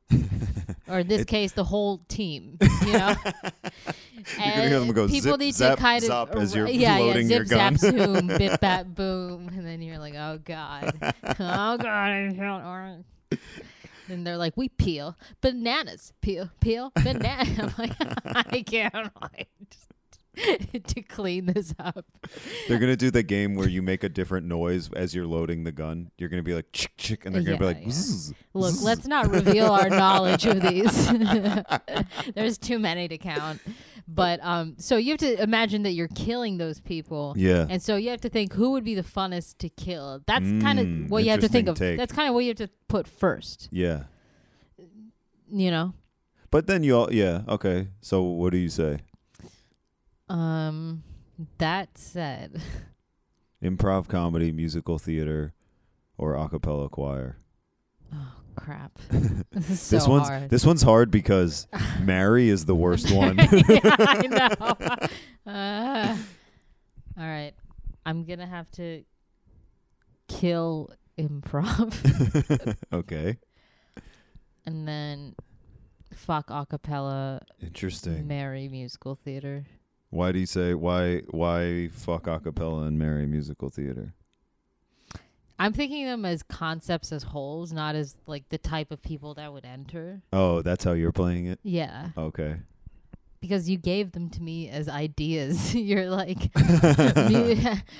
Speaker 3: or in this case, the whole team. You know,
Speaker 4: You're gonna hear them go
Speaker 3: people
Speaker 4: zip,
Speaker 3: need
Speaker 4: zap,
Speaker 3: to kind of
Speaker 4: zop as you're
Speaker 3: yeah,
Speaker 4: loading
Speaker 3: yeah,
Speaker 4: your
Speaker 3: zip,
Speaker 4: gun.
Speaker 3: zap, zoom, bit, bat, boom, and then you're like, oh god, oh god, I felt orange. Then they're like, we peel bananas, peel, peel, banana. I'm like, I can't wait to clean this up.
Speaker 4: They're gonna do the game where you make a different noise as you're loading the gun. You're gonna be like chick chick, and they're gonna be
Speaker 3: Yeah,
Speaker 4: like,
Speaker 3: yeah.
Speaker 4: "Zzz."
Speaker 3: Look, let's not reveal our knowledge of these. There's too many to count. But um so you have to imagine that you're killing those people.
Speaker 4: yeah,
Speaker 3: And so you have to think who would be the funnest to kill. That's kind
Speaker 4: Mm,
Speaker 3: of what you have to think of.
Speaker 4: interesting take.
Speaker 3: That's kind of what you have to put first,
Speaker 4: yeah.
Speaker 3: you know.
Speaker 4: But then you all, yeah, okay. So what do you say?
Speaker 3: Um that said,
Speaker 4: Improv comedy, musical theater, or a cappella choir?
Speaker 3: oh crap. This is so
Speaker 4: this one's
Speaker 3: hard.
Speaker 4: this one's hard because Mary is the worst one.
Speaker 3: yeah, I know. Uh, all right. I'm going to have to kill improv.
Speaker 4: okay,
Speaker 3: and then fuck acapella
Speaker 4: interesting.
Speaker 3: marry musical theater
Speaker 4: Why do you say why why fuck a cappella and Mary musical theater?
Speaker 3: i'm thinking them as concepts as wholes not as like the type of people that would enter
Speaker 4: Oh, that's how you're playing it.
Speaker 3: yeah
Speaker 4: Okay.
Speaker 3: because you gave them to me as ideas you're like mu-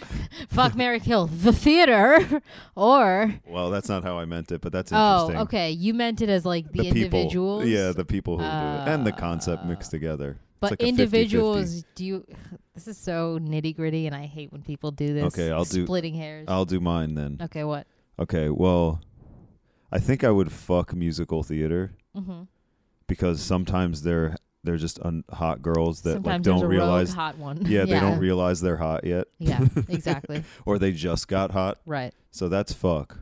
Speaker 3: fuck mary kill the theater or
Speaker 4: Well, that's not how I meant it, but that's
Speaker 3: oh
Speaker 4: interesting.
Speaker 3: okay you meant it as like the, individuals
Speaker 4: people. Yeah, the people who do it and the
Speaker 3: Uh,
Speaker 4: concept mixed together. It's
Speaker 3: but
Speaker 4: like a 50-50.
Speaker 3: individuals do you this is so nitty gritty and i hate when people do this
Speaker 4: Okay, I'll do-
Speaker 3: splitting hairs
Speaker 4: I'll do mine then.
Speaker 3: okay what
Speaker 4: Okay, well, I think I would fuck musical theater
Speaker 3: mm-hmm
Speaker 4: because sometimes they're they're just un- hot girls that like
Speaker 3: Sometimes there's
Speaker 4: don't
Speaker 3: a rogue
Speaker 4: realize
Speaker 3: hot one.
Speaker 4: yeah, they don't realize they're hot yet
Speaker 3: yeah, exactly.
Speaker 4: or they just got hot.
Speaker 3: Right.
Speaker 4: So that's fuck.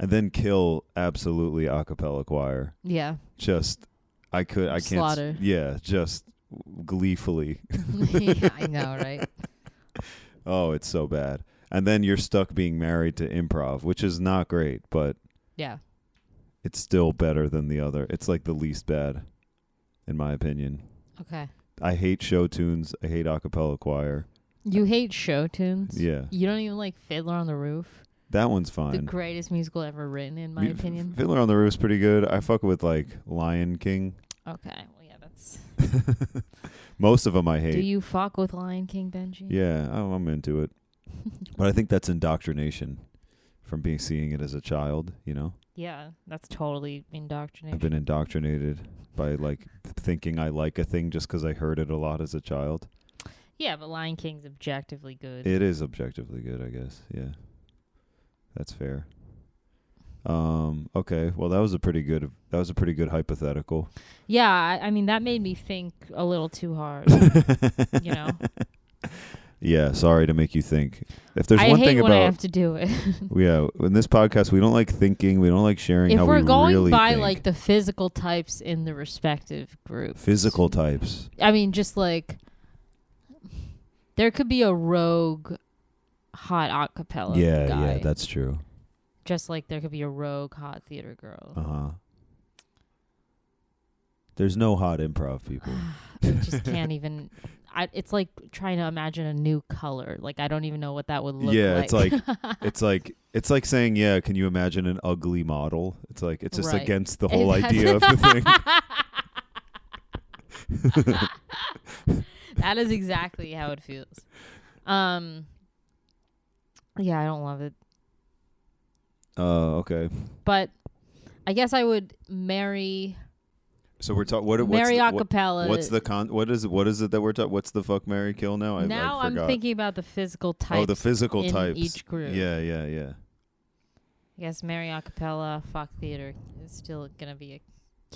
Speaker 4: And then kill absolutely a cappella choir.
Speaker 3: Yeah.
Speaker 4: just I could I can't s-
Speaker 3: Slaughter.
Speaker 4: yeah just gleefully
Speaker 3: yeah. I know, right?
Speaker 4: oh it's so bad and then you're stuck being married to improv which is not great but
Speaker 3: Yeah.
Speaker 4: it's still better than the other it's like the least bad in my opinion
Speaker 3: Okay.
Speaker 4: I hate show tunes I hate a cappella choir
Speaker 3: You hate show tunes.
Speaker 4: Yeah.
Speaker 3: You don't even like Fiddler on the Roof.
Speaker 4: That one's
Speaker 3: The
Speaker 4: fine.
Speaker 3: greatest musical ever written, in my
Speaker 4: F-
Speaker 3: opinion.
Speaker 4: Fiddler on the Roof's pretty good. I fuck with like Lion King.
Speaker 3: Okay. Well, yeah, that's.
Speaker 4: Most of them I
Speaker 3: Do
Speaker 4: hate.
Speaker 3: you fuck with Lion King, Benji?
Speaker 4: Yeah, I'm, I'm into it. but I think that's indoctrination from being seeing it as a child. You know,
Speaker 3: Yeah, that's totally indoctrination.
Speaker 4: I've been indoctrinated by like thinking I like a thing just 'cause I heard it a lot as a child.
Speaker 3: yeah, but Lion King's objectively good.
Speaker 4: It is objectively good, I guess. Yeah, that's fair. Um. Okay. Well, that was a pretty good. That was a pretty good hypothetical.
Speaker 3: yeah, I, I mean that made me think a little too hard. you know,
Speaker 4: Yeah. Sorry to make you think. If there's
Speaker 3: I
Speaker 4: one
Speaker 3: hate
Speaker 4: thing
Speaker 3: when I
Speaker 4: about
Speaker 3: have to do it.
Speaker 4: yeah, in this podcast, we don't like thinking. We don't like sharing
Speaker 3: if
Speaker 4: how
Speaker 3: we're
Speaker 4: we
Speaker 3: going
Speaker 4: really
Speaker 3: by
Speaker 4: think.
Speaker 3: like the physical types in the respective groups,
Speaker 4: physical types.
Speaker 3: I mean, just like there could be a rogue hot acapella
Speaker 4: yeah.
Speaker 3: Oh, guy.
Speaker 4: Yeah. That's true.
Speaker 3: just like there could be a rogue hot theater girl.
Speaker 4: Uh huh. There's no hot improv people.
Speaker 3: I just can't even. I, it's like trying to imagine a new color. Like I don't even know what that would look
Speaker 4: Yeah,
Speaker 3: like.
Speaker 4: it's it's like it's like saying, yeah, can you imagine an ugly model? It's like it's just
Speaker 3: Right.
Speaker 4: against the whole idea of the thing.
Speaker 3: that is exactly how it feels. Um. Yeah, I don't love it,
Speaker 4: Uh, okay.
Speaker 3: but I guess I would marry
Speaker 4: So we're talking. What, what's
Speaker 3: marry
Speaker 4: the, what-
Speaker 3: acapella.
Speaker 4: What's the con? What is what is it that we're talking? What's the fuck Mary kill now? I,
Speaker 3: now
Speaker 4: I
Speaker 3: I'm
Speaker 4: forgot.
Speaker 3: thinking about the physical types.
Speaker 4: oh, the physical
Speaker 3: in
Speaker 4: types.
Speaker 3: each group.
Speaker 4: Yeah, yeah, yeah.
Speaker 3: I guess Mary acapella, fuck theater is still gonna be a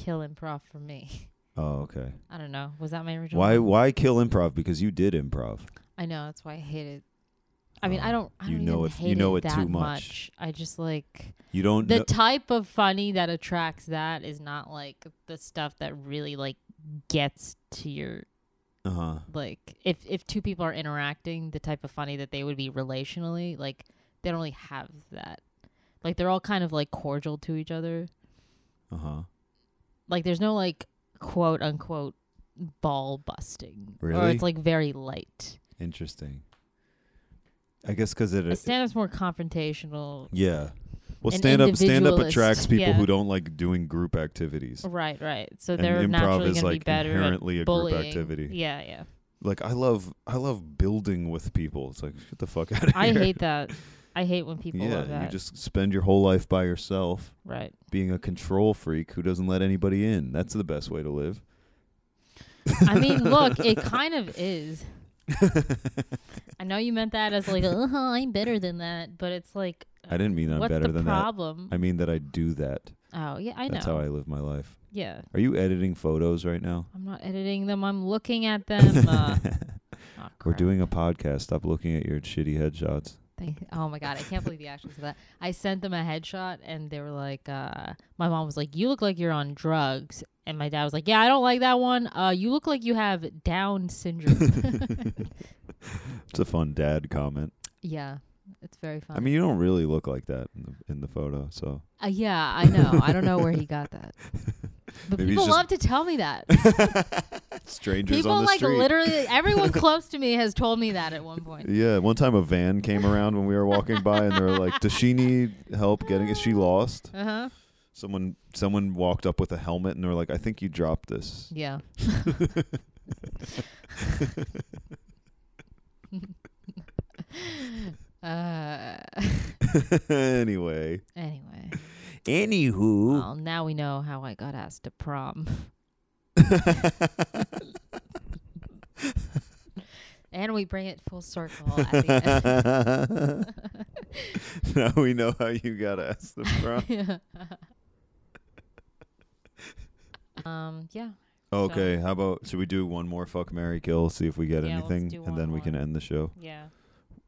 Speaker 3: kill improv for me.
Speaker 4: Oh, okay.
Speaker 3: I don't know. Was that my original?
Speaker 4: Why
Speaker 3: one?
Speaker 4: why kill improv? Because you did improv.
Speaker 3: I know that's why I hate it. I mean, I
Speaker 4: Oh,
Speaker 3: don't. I
Speaker 4: you
Speaker 3: don't
Speaker 4: know
Speaker 3: even
Speaker 4: it-
Speaker 3: hate
Speaker 4: you know it
Speaker 3: that
Speaker 4: too much. Oh,
Speaker 3: I just like
Speaker 4: You don't.
Speaker 3: the
Speaker 4: know-
Speaker 3: type of funny that attracts that is not like the stuff that really like gets to your
Speaker 4: uh-huh.
Speaker 3: like if if two people are interacting the type of funny that they would be relationally like they don't really have that like they're all kind of like cordial to each other
Speaker 4: Uh huh.
Speaker 3: like there's no like quote unquote ball busting or
Speaker 4: Really?
Speaker 3: it's like very light
Speaker 4: Interesting. I guess because it.
Speaker 3: A stand-up's more confrontational
Speaker 4: yeah. Well,
Speaker 3: an
Speaker 4: stand up stand up
Speaker 3: individualist,
Speaker 4: attracts people
Speaker 3: yeah.
Speaker 4: who don't like doing group activities.
Speaker 3: right right so
Speaker 4: and
Speaker 3: they're
Speaker 4: improv
Speaker 3: naturally going
Speaker 4: is
Speaker 3: to be
Speaker 4: like
Speaker 3: better at
Speaker 4: inherently a
Speaker 3: bullying
Speaker 4: group activity.
Speaker 3: yeah yeah
Speaker 4: Like I love I love building with people. It's like get the fuck out of
Speaker 3: i
Speaker 4: here.
Speaker 3: hate that i hate when people
Speaker 4: yeah,
Speaker 3: love that
Speaker 4: you just spend your whole life by yourself
Speaker 3: right
Speaker 4: being a control freak who doesn't let anybody in. That's the best way to live.
Speaker 3: I mean, look, it kind of is. I know you meant that as like, oh, I'm better than that, but it's like,
Speaker 4: I didn't mean I'm
Speaker 3: what's
Speaker 4: better
Speaker 3: the
Speaker 4: than
Speaker 3: problem?
Speaker 4: that. I mean that I do that.
Speaker 3: oh yeah, I know.
Speaker 4: That's how I live my life.
Speaker 3: yeah,
Speaker 4: Are you editing photos right now?
Speaker 3: I'm not editing them. I'm looking at them. Uh, oh,
Speaker 4: We're
Speaker 3: crap.
Speaker 4: doing a podcast. Stop looking at your shitty headshots.
Speaker 3: Thank- oh my god, I can't believe you actually said that. I sent them a headshot, and they were like, uh, my mom was like, "You look like you're on drugs," and my dad was like, "Yeah, I don't like that one. Uh, you look like you have Down syndrome."
Speaker 4: It's a fun dad comment.
Speaker 3: yeah, it's very funny.
Speaker 4: I mean, you don't really look like that in the, in the photo, so
Speaker 3: Uh, yeah, I know. I don't know where he got that. But
Speaker 4: Maybe he's
Speaker 3: people
Speaker 4: just-
Speaker 3: love to tell me that.
Speaker 4: strangers on
Speaker 3: people
Speaker 4: the
Speaker 3: like
Speaker 4: street.
Speaker 3: literally everyone close to me has told me that at one point.
Speaker 4: yeah, one time a van came around when we were walking by, and they were like, "Does she need help getting? Is she lost?"
Speaker 3: Uh huh.
Speaker 4: Someone someone walked up with a helmet, and they were like, "I think you dropped this."
Speaker 3: Yeah. uh,
Speaker 4: anyway,
Speaker 3: anyway,
Speaker 4: anywho,
Speaker 3: well, now we know how I got asked to prom. and we bring it full circle at the end.
Speaker 4: now we know how you got asked the prom.
Speaker 3: um. Yeah.
Speaker 4: Okay, how about should we do one more fuck Mary Kill, see if we get
Speaker 3: Yeah, let's
Speaker 4: anything,
Speaker 3: do
Speaker 4: and
Speaker 3: one
Speaker 4: then we
Speaker 3: more.
Speaker 4: can end the show.
Speaker 3: Yeah.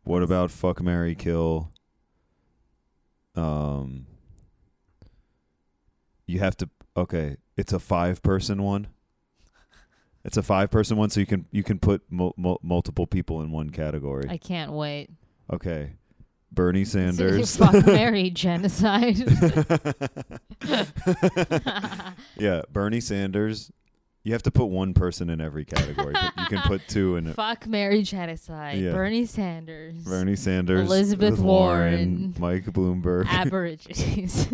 Speaker 4: What
Speaker 3: Let's-
Speaker 4: about fuck Mary Kill? Um, you have to. Okay, it's a five person one. It's a five person one, so you can you can put mul- mul- multiple people in one category.
Speaker 3: I can't wait.
Speaker 4: okay, Bernie
Speaker 3: See,
Speaker 4: Sanders.
Speaker 3: Fuck Mary genocide.
Speaker 4: yeah, Bernie Sanders, You have to put one person in every category, but you can put two in it.
Speaker 3: Fuck Mary Genocide.
Speaker 4: Yeah.
Speaker 3: Bernie Sanders.
Speaker 4: Bernie Sanders,
Speaker 3: Elizabeth Warren.
Speaker 4: Mike Bloomberg.
Speaker 3: Aborigines.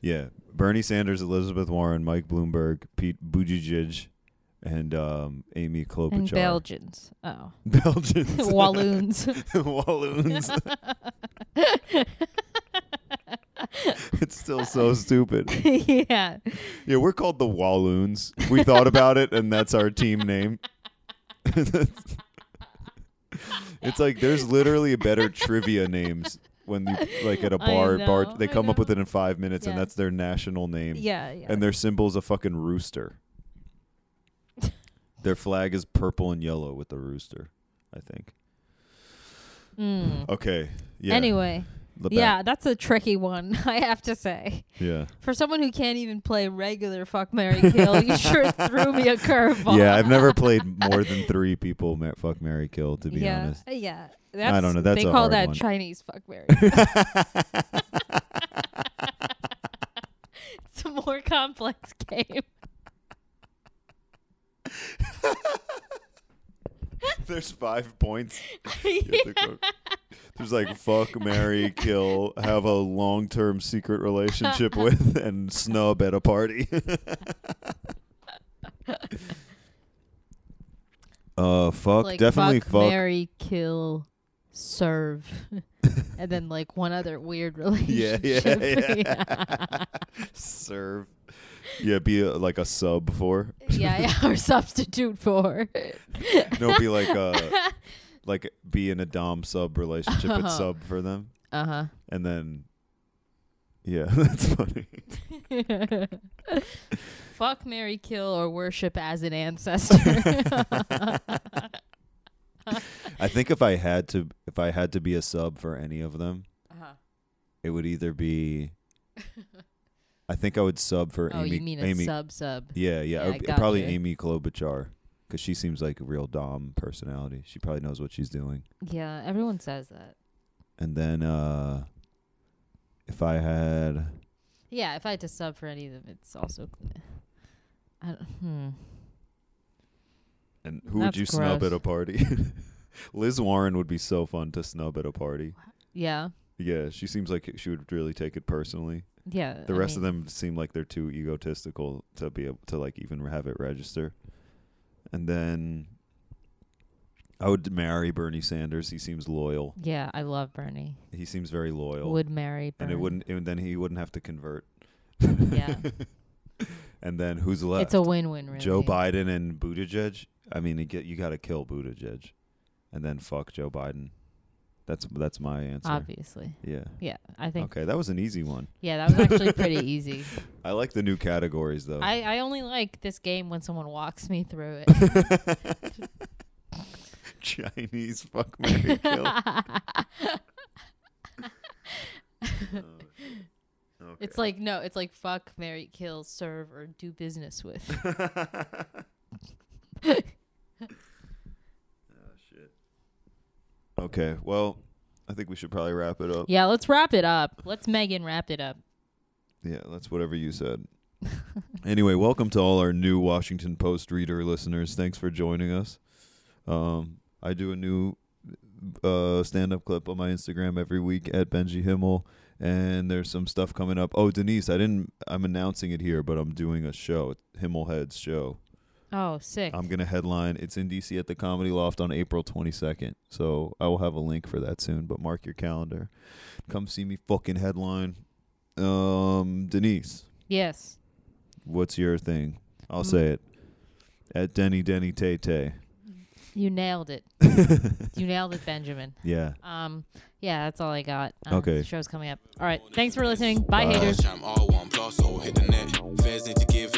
Speaker 4: yeah, Bernie Sanders, Elizabeth Warren, Mike Bloomberg, Pete Buttigieg, and um, Amy Klobuchar.
Speaker 3: and Belgians. Oh.
Speaker 4: Belgians,
Speaker 3: Walloons.
Speaker 4: Walloons. it's still so stupid.
Speaker 3: yeah.
Speaker 4: Yeah, we're called the Walloons. We thought about it, and that's our team name. it's like there's literally better trivia names when you like at a
Speaker 3: I
Speaker 4: bar.
Speaker 3: know,
Speaker 4: bar
Speaker 3: I
Speaker 4: they come up with
Speaker 3: know.
Speaker 4: it in five minutes, and
Speaker 3: Yeah.
Speaker 4: that's their national name.
Speaker 3: Yeah. yeah.
Speaker 4: And their symbol's a fucking rooster. their flag is purple and yellow with the rooster. I think.
Speaker 3: Mm.
Speaker 4: Okay. Yeah.
Speaker 3: Anyway,
Speaker 4: the back-
Speaker 3: yeah, that's a tricky one, I have to say.
Speaker 4: Yeah.
Speaker 3: For someone who can't even play regular fuck Mary Kill, you sure threw me a curveball.
Speaker 4: Yeah. I've never played more than three people. ma- Fuck Mary Kill. To be
Speaker 3: yeah,
Speaker 4: honest.
Speaker 3: Yeah. That's,
Speaker 4: know, that's
Speaker 3: they
Speaker 4: a
Speaker 3: call
Speaker 4: hard
Speaker 3: that
Speaker 4: one.
Speaker 3: Chinese fuck Mary. it's a more complex game.
Speaker 4: There's five points.
Speaker 3: yeah.
Speaker 4: There's like fuck, marry, kill, have a long term secret relationship with, and snub at a party. uh, fuck,
Speaker 3: like
Speaker 4: definitely
Speaker 3: fuck,
Speaker 4: fuck.
Speaker 3: Mary kill serve. and then like one other weird
Speaker 4: yeah,
Speaker 3: relationship.
Speaker 4: yeah, yeah. Serve. Yeah, be a, like a sub for.
Speaker 3: yeah, yeah, or substitute for.
Speaker 4: No, be like uh, a like be in a dom sub relationship and
Speaker 3: Uh-huh.
Speaker 4: sub for them,
Speaker 3: Uh
Speaker 4: and then yeah, that's funny.
Speaker 3: huh. Fuck Mary Kill or worship as an ancestor.
Speaker 4: I think if I had to if I had to be a sub for any of them,
Speaker 3: Uh-huh.
Speaker 4: it would either be I think I would sub for
Speaker 3: oh,
Speaker 4: Amy
Speaker 3: you mean a
Speaker 4: Amy
Speaker 3: sub sub.
Speaker 4: Yeah, yeah,
Speaker 3: Yeah,
Speaker 4: or-
Speaker 3: I got
Speaker 4: probably
Speaker 3: you.
Speaker 4: Amy Klobuchar cuz she seems like a real dom personality. She probably knows what she's doing.
Speaker 3: Yeah, everyone says that.
Speaker 4: And then uh if I had
Speaker 3: Yeah, if I had to sub for any of them, it's also. I don't, hmm.
Speaker 4: and who would
Speaker 3: That's
Speaker 4: you snub
Speaker 3: gross.
Speaker 4: at a party? Liz Warren would be so fun to snub at a party.
Speaker 3: Yeah.
Speaker 4: Yeah, she seems like she would really take it personally.
Speaker 3: Yeah.
Speaker 4: The rest of them seem like they're too egotistical to be able to like even have it register. And then I would marry Bernie Sanders. He seems loyal.
Speaker 3: Yeah, I love Bernie.
Speaker 4: He seems very loyal.
Speaker 3: Would marry
Speaker 4: and
Speaker 3: Bernie.
Speaker 4: it wouldn't and then he wouldn't have to convert.
Speaker 3: Yeah.
Speaker 4: and then who's left?
Speaker 3: It's a win-win, really.
Speaker 4: Joe Biden and Buttigieg. I mean, you get you got to kill Buttigieg and then fuck Joe Biden. That's that's my answer.
Speaker 3: Obviously.
Speaker 4: Yeah.
Speaker 3: Yeah, I think.
Speaker 4: Okay, that was an easy one.
Speaker 3: Yeah, that was actually pretty easy.
Speaker 4: I like the new categories though.
Speaker 3: I, I only like this game when someone walks me through it.
Speaker 4: Chinese fuck Mary Kill.
Speaker 3: It's like no, it's like fuck, marry, kill, serve, or do business with.
Speaker 4: Okay, well, I think we should probably wrap it up.
Speaker 3: yeah, let's wrap it up. Let's Megan wrap it up.
Speaker 4: Yeah, that's whatever you said. anyway, welcome to all our new Washington Post reader listeners. Thanks for joining us. Um, I do a new uh, stand up clip on my Instagram every week at Benji Himmel, and there's some stuff coming up. Oh, Denise, I didn't, I'm announcing it here, but I'm doing a show, Himmel Heads show.
Speaker 3: Oh, sick.
Speaker 4: I'm going to headline. It's in DC at the Comedy Loft on April 22nd. So I will have a link for that soon, but mark your calendar. Come see me fucking headline. Um, Denise,
Speaker 3: yes.
Speaker 4: what's your thing? I'll say it. At Denny Denny Tay Tay.
Speaker 3: You nailed it. you nailed it, Benjamin.
Speaker 4: Yeah.
Speaker 3: Um, yeah, that's all I got. Um,
Speaker 4: Okay.
Speaker 3: The show's coming up. All right. Thanks for listening. Bye. haters.
Speaker 2: All time, all one plus, so hit the net. Fairs need to give